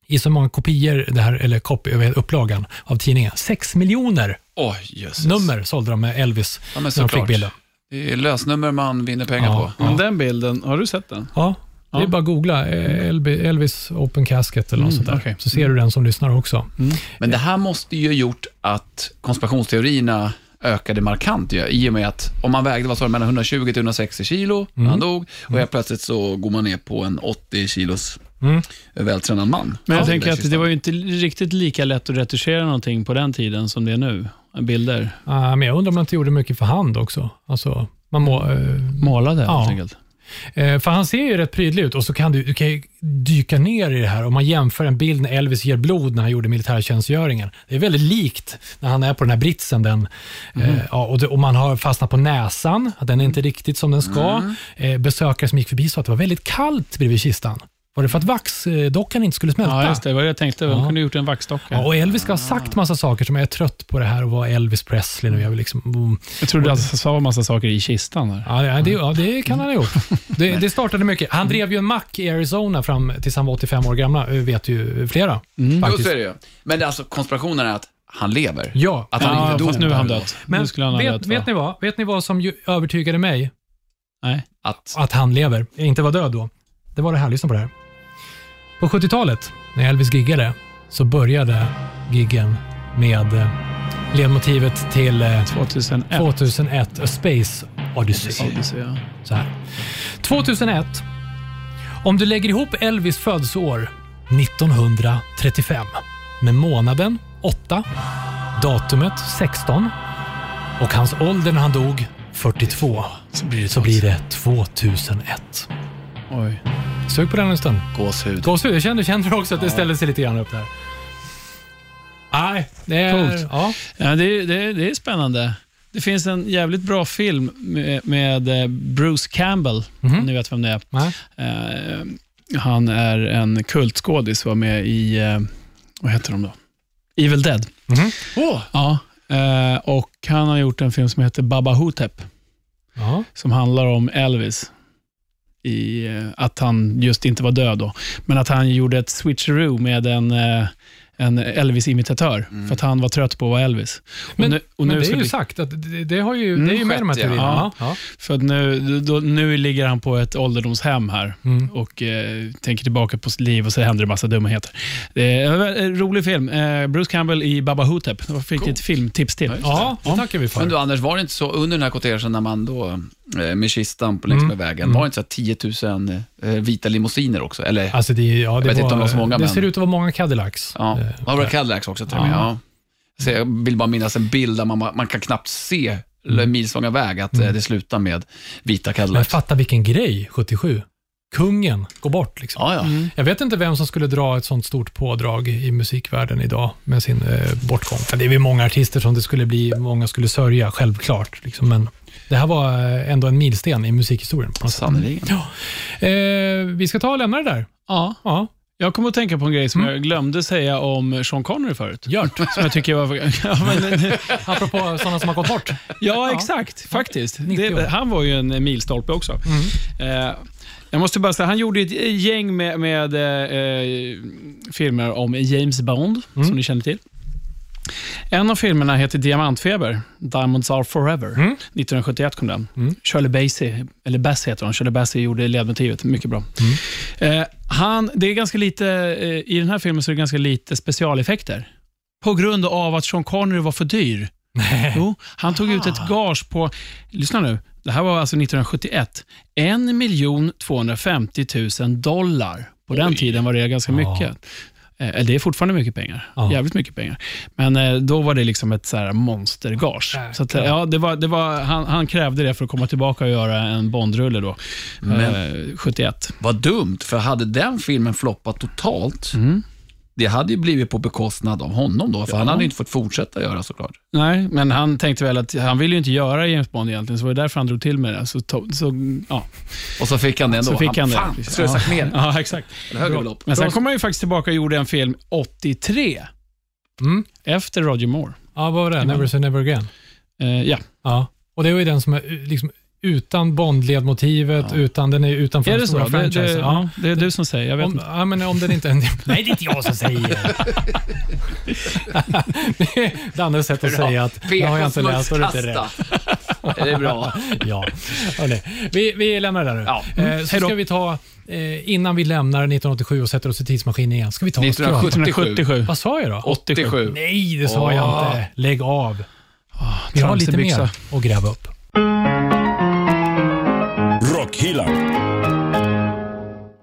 Speaker 3: I så många kopior, det här, eller copy, vad heter upplagan av tidningen, sex miljoner
Speaker 4: Oj, jösses.
Speaker 3: nummer sålde de med Elvis
Speaker 4: Ja, men
Speaker 3: när de
Speaker 4: såklart.
Speaker 3: fick bilden.
Speaker 4: Det är lösnummer man vinner pengar
Speaker 3: Ja.
Speaker 4: på.
Speaker 2: Men den bilden, har du sett den?
Speaker 3: Ja, det
Speaker 2: Ja.
Speaker 3: är
Speaker 2: Mm.
Speaker 3: bara att googla eh, Elbi- Elvis Open Casket eller något sånt där.
Speaker 2: okej. Mm.
Speaker 3: Så ser du den som lyssnar också.
Speaker 4: Men det här måste ju ha gjort att konspirationsteorierna ökade markant ju, i och med att om man vägde vad sa du, mellan 120 till 160 kilo när
Speaker 2: Mm.
Speaker 4: han dog och helt plötsligt så går man ner på en 80 kilos vältränad man.
Speaker 2: Mm. Men jag
Speaker 4: Ja,
Speaker 2: tänker
Speaker 4: den
Speaker 2: att det
Speaker 4: kistan.
Speaker 2: var ju inte riktigt lika lätt att retuschera någonting på den tiden som det är nu. Bilder
Speaker 3: Ah, men jag undrar om man inte gjorde mycket för hand också. Alltså, man må, eh,
Speaker 2: målade helt
Speaker 3: Ja.
Speaker 2: enkelt.
Speaker 3: Eh, För han ser ju rätt prydlig ut och så kan du, du kan ju dyka ner i det här. Om man jämför en bild när Elvis ger blod när han gjorde militärtjänstgöringen. Det är väldigt likt när han är på den här britsen. Den,
Speaker 2: Mm.
Speaker 3: eh, ja, och, det, och man har fastnat på näsan, att den är inte riktigt som den ska.
Speaker 2: Mm.
Speaker 3: Eh, besökare som gick förbi sa att det var väldigt kallt bredvid kistan. Var det för att vaxdockan inte skulle smälta?
Speaker 2: Ja, just det. Det var det jag tänkte. De
Speaker 3: Ja.
Speaker 2: kunde ha gjort en vaxdocka.
Speaker 3: Ja, och Elvis ska ha sagt massa saker som jag är trött på det här och vara Elvis Presley nu. Jag vill liksom, mm.
Speaker 2: jag trodde att han sa massa saker i kistan. Där.
Speaker 3: Ja, det, det, ja, det kan han ha gjort. Det, det startade mycket. Han drev ju en mack i Arizona fram tills han var 85 år gamla, eh, vet ju flera.
Speaker 4: Jo, så
Speaker 3: Faktiskt.
Speaker 4: är det ju. Men det, alltså konspirationen är att han lever.
Speaker 3: Ja.
Speaker 4: Att han
Speaker 2: Ja,
Speaker 4: inte dog.
Speaker 2: fast nu är han
Speaker 4: där och
Speaker 2: död.
Speaker 4: då.
Speaker 2: nu
Speaker 3: Men
Speaker 2: skulle han ha
Speaker 3: vet,
Speaker 2: dött, va?
Speaker 3: vet, ni vad? vet ni vad som ju övertygade mig
Speaker 2: Nej.
Speaker 4: Att,
Speaker 3: att han lever, inte var död då? Det var det här, lyssna på det här. På 70-talet, när Elvis giggade, så började giggen med eh, ledmotivet till eh,
Speaker 2: 2001.
Speaker 3: 2001 A Space Odyssey.
Speaker 2: Odyssey, ja.
Speaker 3: Så här. 2001. Om du lägger ihop Elvis födelseår 1935 med månaden 8, datumet 16 och hans ålder när han dog 42 så blir det, 2001.
Speaker 2: Oj.
Speaker 3: Sök på den en stund.
Speaker 4: gåshud.
Speaker 3: Gåshud, jag kände, kände också att det ställde sig lite grann upp där. Nej, det är...
Speaker 2: Coolt.
Speaker 3: Ja.
Speaker 2: Ja, det, är- det, är- det är spännande. Det finns en jävligt bra film med, med eh, Bruce Campbell, om ni vet vem det är.
Speaker 3: Nej.
Speaker 2: Eh, han är en kultskådis, var med i, eh, vad heter de då? Evil Dead.
Speaker 4: Åh,
Speaker 2: Ja, eh, och han har gjort en film som heter Baba Hotep,
Speaker 3: Ja.
Speaker 2: som handlar om Elvis. I, eh, att han just inte var död då, men att han gjorde ett switcheroo med en, eh, en Elvis-imitatör, för att han var trött på att vara Elvis. Och
Speaker 3: Men,
Speaker 2: nu- och
Speaker 3: men
Speaker 2: nu
Speaker 3: det
Speaker 2: ska
Speaker 3: är ju
Speaker 2: bli- Mm.
Speaker 3: sagt att det, det har ju, det är ju med i de här
Speaker 4: skett, ja.
Speaker 3: teorierna.
Speaker 2: Ja.
Speaker 3: Ja.
Speaker 2: För att nu, då, nu ligger han på ett ålderdomshem här
Speaker 3: Mm.
Speaker 2: och eh, tänker tillbaka på sitt liv och så händer det massa dumheter. Det är en väldigt rolig film. Eh, Bruce Campbell i Baba Hotep. Jag fick ett filmtips till.
Speaker 3: Ja, det tackar vi för.
Speaker 4: Men du Anders, var det inte så under den här kortegen när man då, eh, med kistan på längs
Speaker 2: Mm.
Speaker 4: med vägen, var det inte så här 10 000 eh, vita limousiner också? Eller,
Speaker 3: Alltså det, är- ja, det,
Speaker 4: vet
Speaker 3: var,
Speaker 4: inte om det var så många,
Speaker 3: det
Speaker 4: men-
Speaker 3: ser ut att vara många Cadillacs.
Speaker 4: ja,
Speaker 3: Eh,
Speaker 4: ja, det var Cadillacs också till och med. Ja. Så jag vill bara minnas en bild där man, man kan knappt se mm. milslånga väg, att eh, det slutar med vita
Speaker 3: Men
Speaker 4: Cadillacs.
Speaker 3: fatta vilken grej, 77. Kungen går bort liksom.
Speaker 4: Ja, ja.
Speaker 3: Jag vet inte vem som skulle dra ett sånt stort pådrag i musikvärlden idag med sin eh, bortgång. Men Det är ju många artister som det skulle bli, många skulle sörja, självklart. Liksom. Men det här var eh, ändå en milsten i musikhistorien. På något sätt.
Speaker 4: Sannerligen.
Speaker 3: Eh, vi ska ta och lämna det där.
Speaker 2: Ja.
Speaker 3: Ja.
Speaker 2: Jag kommer att tänka på en grej som
Speaker 3: Mm.
Speaker 2: jag glömde säga om Sean Connery förut.
Speaker 3: Gört.
Speaker 2: Som jag tycker var... <laughs> ja, men,
Speaker 3: Apropå sådana som har gått bort.
Speaker 2: ja, exakt. Faktiskt.
Speaker 3: 90 år.
Speaker 2: Det, han var ju en milstolpe också.
Speaker 3: Mm.
Speaker 2: Eh, jag måste bara säga, han gjorde ett gäng med, med eh, eh, filmer om James Bond, som ni känner till. En av filmerna heter Diamantfeber, Diamonds are forever. 1971 kom den. Shirley Bassey, eller Bass heter hon. Shirley Bassey gjorde ledmotivet. Mycket bra. Eh, han, det är ganska lite, eh, I den här filmen så är det ganska lite specialeffekter. På grund av att Sean Connery var för dyr. Jo, han tog ut
Speaker 4: Ah.
Speaker 2: ett gage på, lyssna nu, det här var alltså 1971, 1 250 000 dollar. På den tiden var det ganska mycket. Eh, Eller det är fortfarande mycket pengar.
Speaker 3: Ja.
Speaker 2: Jävligt mycket pengar. Men eh, då var det liksom ett så här monstergage. Så att, eh, ja, det var, det var, han, han krävde det för att komma tillbaka och göra en Bondrulle då, eh, 71.
Speaker 4: Vad dumt, för hade den filmen floppat totalt, det hade ju blivit på bekostnad av honom då, för han hade ju inte fått fortsätta göra såklart.
Speaker 2: Nej, men han tänkte väl att han ville ju inte göra James Bond egentligen, så det var därför han drog till med det. Så, to- så, ja,
Speaker 4: Och så fick han det ändå.
Speaker 2: så fick han det.
Speaker 4: Fan, jag skulle ha sagt
Speaker 2: ja. <laughs>
Speaker 4: mer.
Speaker 2: Ja, exakt.
Speaker 4: Eller Högre belopp.
Speaker 2: Men sen kom han ju faktiskt tillbaka och gjorde en film 83,
Speaker 3: Mm.
Speaker 2: efter Roger Moore.
Speaker 3: Ja, vad var det? Never say never again.
Speaker 2: Eh, ja.
Speaker 3: Ja. Och det var ju den som är u- liksom, utan Bondledmotivet, utan, den är ju utanför
Speaker 2: Är
Speaker 3: den
Speaker 2: det så?
Speaker 3: stora
Speaker 2: Det,
Speaker 3: franchisen.
Speaker 2: det,
Speaker 3: ja.
Speaker 2: ja, det är du som säger, jag vet
Speaker 3: Om,
Speaker 2: inte.
Speaker 3: ja, men om den inte... Nej, det är inte jag som säger. <laughs> det är Dannes sätt att säga att det har jag inte läst och det är inte rätt.
Speaker 4: <laughs> Är det bra?
Speaker 3: Ja, hörni. Vi, vi lämnar det där nu.
Speaker 4: Ja. Mm.
Speaker 3: Eh, så ska vi ta, eh, innan vi lämnar 1987 och sätter oss i tidsmaskinen igen, ska vi ta en skrap.
Speaker 4: 1977.
Speaker 2: 1977.
Speaker 3: Vad sa jag då?
Speaker 4: 87.
Speaker 3: Nej, det sa jag
Speaker 4: Åh.
Speaker 3: inte. Lägg av. Vi har lite
Speaker 2: tramsebyxa.
Speaker 3: mer att gräva upp.
Speaker 1: Rockhyllan.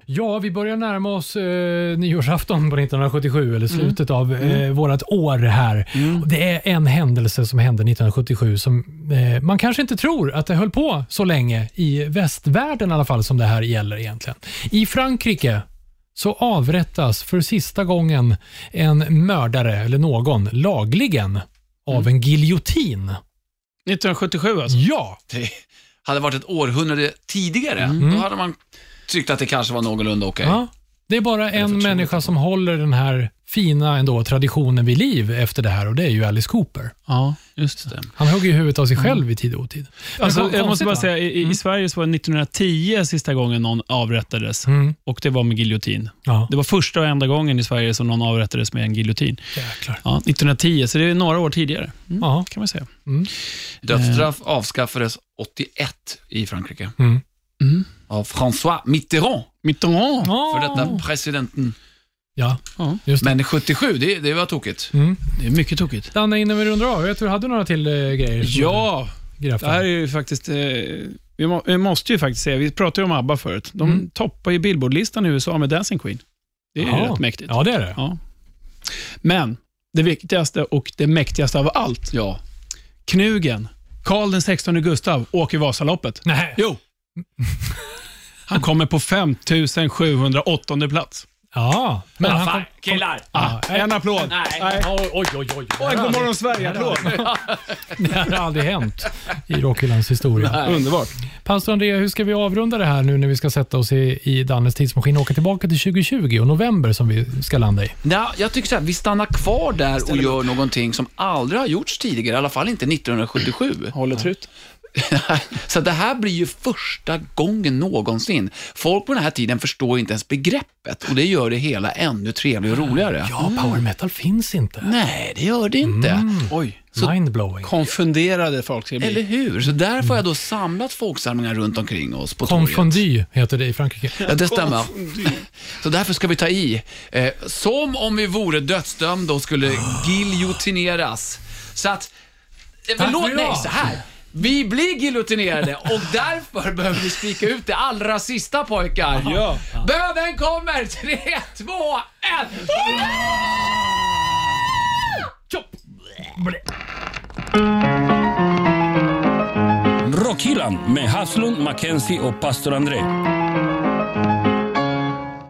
Speaker 3: Ja, vi börjar närma oss eh, nyårsafton på 1977, eller slutet av eh, vårt år här. Och Det är en händelse som hände 1977 som eh, man kanske inte tror att det höll på så länge, i västvärlden i alla fall, som det här gäller egentligen. I Frankrike så avrättas för sista gången en mördare, eller någon, lagligen av en giljotin.
Speaker 2: 1977 alltså?
Speaker 3: Ja,
Speaker 4: Det hade varit ett århundrade tidigare, då hade man tyckt att det kanske var någorlunda okej.
Speaker 3: Mm. Ja. Det är bara en människa som håller den här fina ändå traditionen vid liv efter det här och det är ju Alice Cooper.
Speaker 2: Ja, just det.
Speaker 3: Han högg ju huvudet av sig själv i tid och otid. Men
Speaker 2: Alltså,
Speaker 3: kon-
Speaker 2: Mm. jag måste
Speaker 3: konstigt,
Speaker 2: bara
Speaker 3: va?
Speaker 2: säga, i, i- i Sverige så var det 1910 sista gången någon avrättades
Speaker 3: Mm.
Speaker 2: och det var med giljotin.
Speaker 3: Ja,
Speaker 2: Det var första och enda gången i Sverige som någon avrättades med en giljotin.
Speaker 3: jäklar.
Speaker 2: Ja, 1910, så det är några år tidigare, mm,
Speaker 3: Ja. Mm.
Speaker 2: kan man säga.
Speaker 4: Dödsstraff
Speaker 3: Eh.
Speaker 4: avskaffades 81 i Frankrike.
Speaker 3: Mm.
Speaker 2: Mm.
Speaker 4: Av François Mitterrand,
Speaker 2: Mitterrand.
Speaker 4: för detta presidenten.
Speaker 3: Ja,
Speaker 2: Ja.
Speaker 3: just det.
Speaker 4: Men 77, det, det var tokigt.
Speaker 3: Mm.
Speaker 2: Det är mycket tokigt.
Speaker 3: Danne, innan vi rundar av, jag tror du hade några till eh, grejer. som
Speaker 2: Ja,
Speaker 3: du grävt
Speaker 2: det här är
Speaker 3: fram.
Speaker 2: ju faktiskt... Eh, vi, må, vi måste ju faktiskt säga, vi pratade ju om ABBA förut. De
Speaker 3: Mm.
Speaker 2: toppar ju Billboardlistan i USA med Dancing Queen. Det är ju
Speaker 3: Ja.
Speaker 2: rätt mäktigt.
Speaker 3: Ja, det är det.
Speaker 2: Ja. Men det viktigaste och det mäktigaste av allt,
Speaker 4: Ja.
Speaker 2: knugen. Karl den 16 Gustav åker Vasaloppet.
Speaker 3: Nej.
Speaker 2: Jo. Han kommer på 5708 plats.
Speaker 3: Ja, men han kom...
Speaker 4: killar!
Speaker 2: Ah, en applåd. Nej.
Speaker 3: Oj, oj, oj. oj. Det
Speaker 2: Oj,
Speaker 3: här har
Speaker 2: god
Speaker 3: aldrig-
Speaker 2: morgon Sverige-applåd.
Speaker 3: <laughs> det här har aldrig hänt i Rockhyllans historia.
Speaker 2: Underbart.
Speaker 3: Pastor Andrea, hur ska vi avrunda det här nu när vi ska sätta oss i, i Dannes tidsmaskin och åka tillbaka till 2020 och november som vi ska landa i?
Speaker 4: Ja, jag tycker så här, vi stannar kvar där och gör någonting som aldrig har gjorts tidigare, i alla fall inte 1977.
Speaker 2: Mm. Håller trut.
Speaker 4: <laughs> så det här blir ju första gången någonsin. Folk på den här tiden förstår inte ens begreppet och det gör det hela ännu trevligare och roligare.
Speaker 3: Ja, power metal finns inte.
Speaker 4: Nej, det gör det inte.
Speaker 2: Mm. Oj.
Speaker 3: Mindblowing.
Speaker 2: Konfunderade folk ska
Speaker 4: Eller
Speaker 2: bli.
Speaker 4: hur? Så därför har jag då samlat folksamlingar runt omkring oss på torget.
Speaker 3: Confondy heter det i Frankrike.
Speaker 4: Ja, det stämmer. Så därför ska vi ta i. Eh, som om vi vore dödsdömda och skulle giljotineras. Så att... Eh, förlåt,
Speaker 3: för
Speaker 4: nej,
Speaker 3: idag.
Speaker 4: så här. Vi blir giljotinerade och därför behöver vi spika ut det allra sista pojkar.
Speaker 2: Ja.
Speaker 4: Bönen kommer! Tre, två, ett!
Speaker 1: Rockhyllan med Haslund, Mackenzie och pastor André.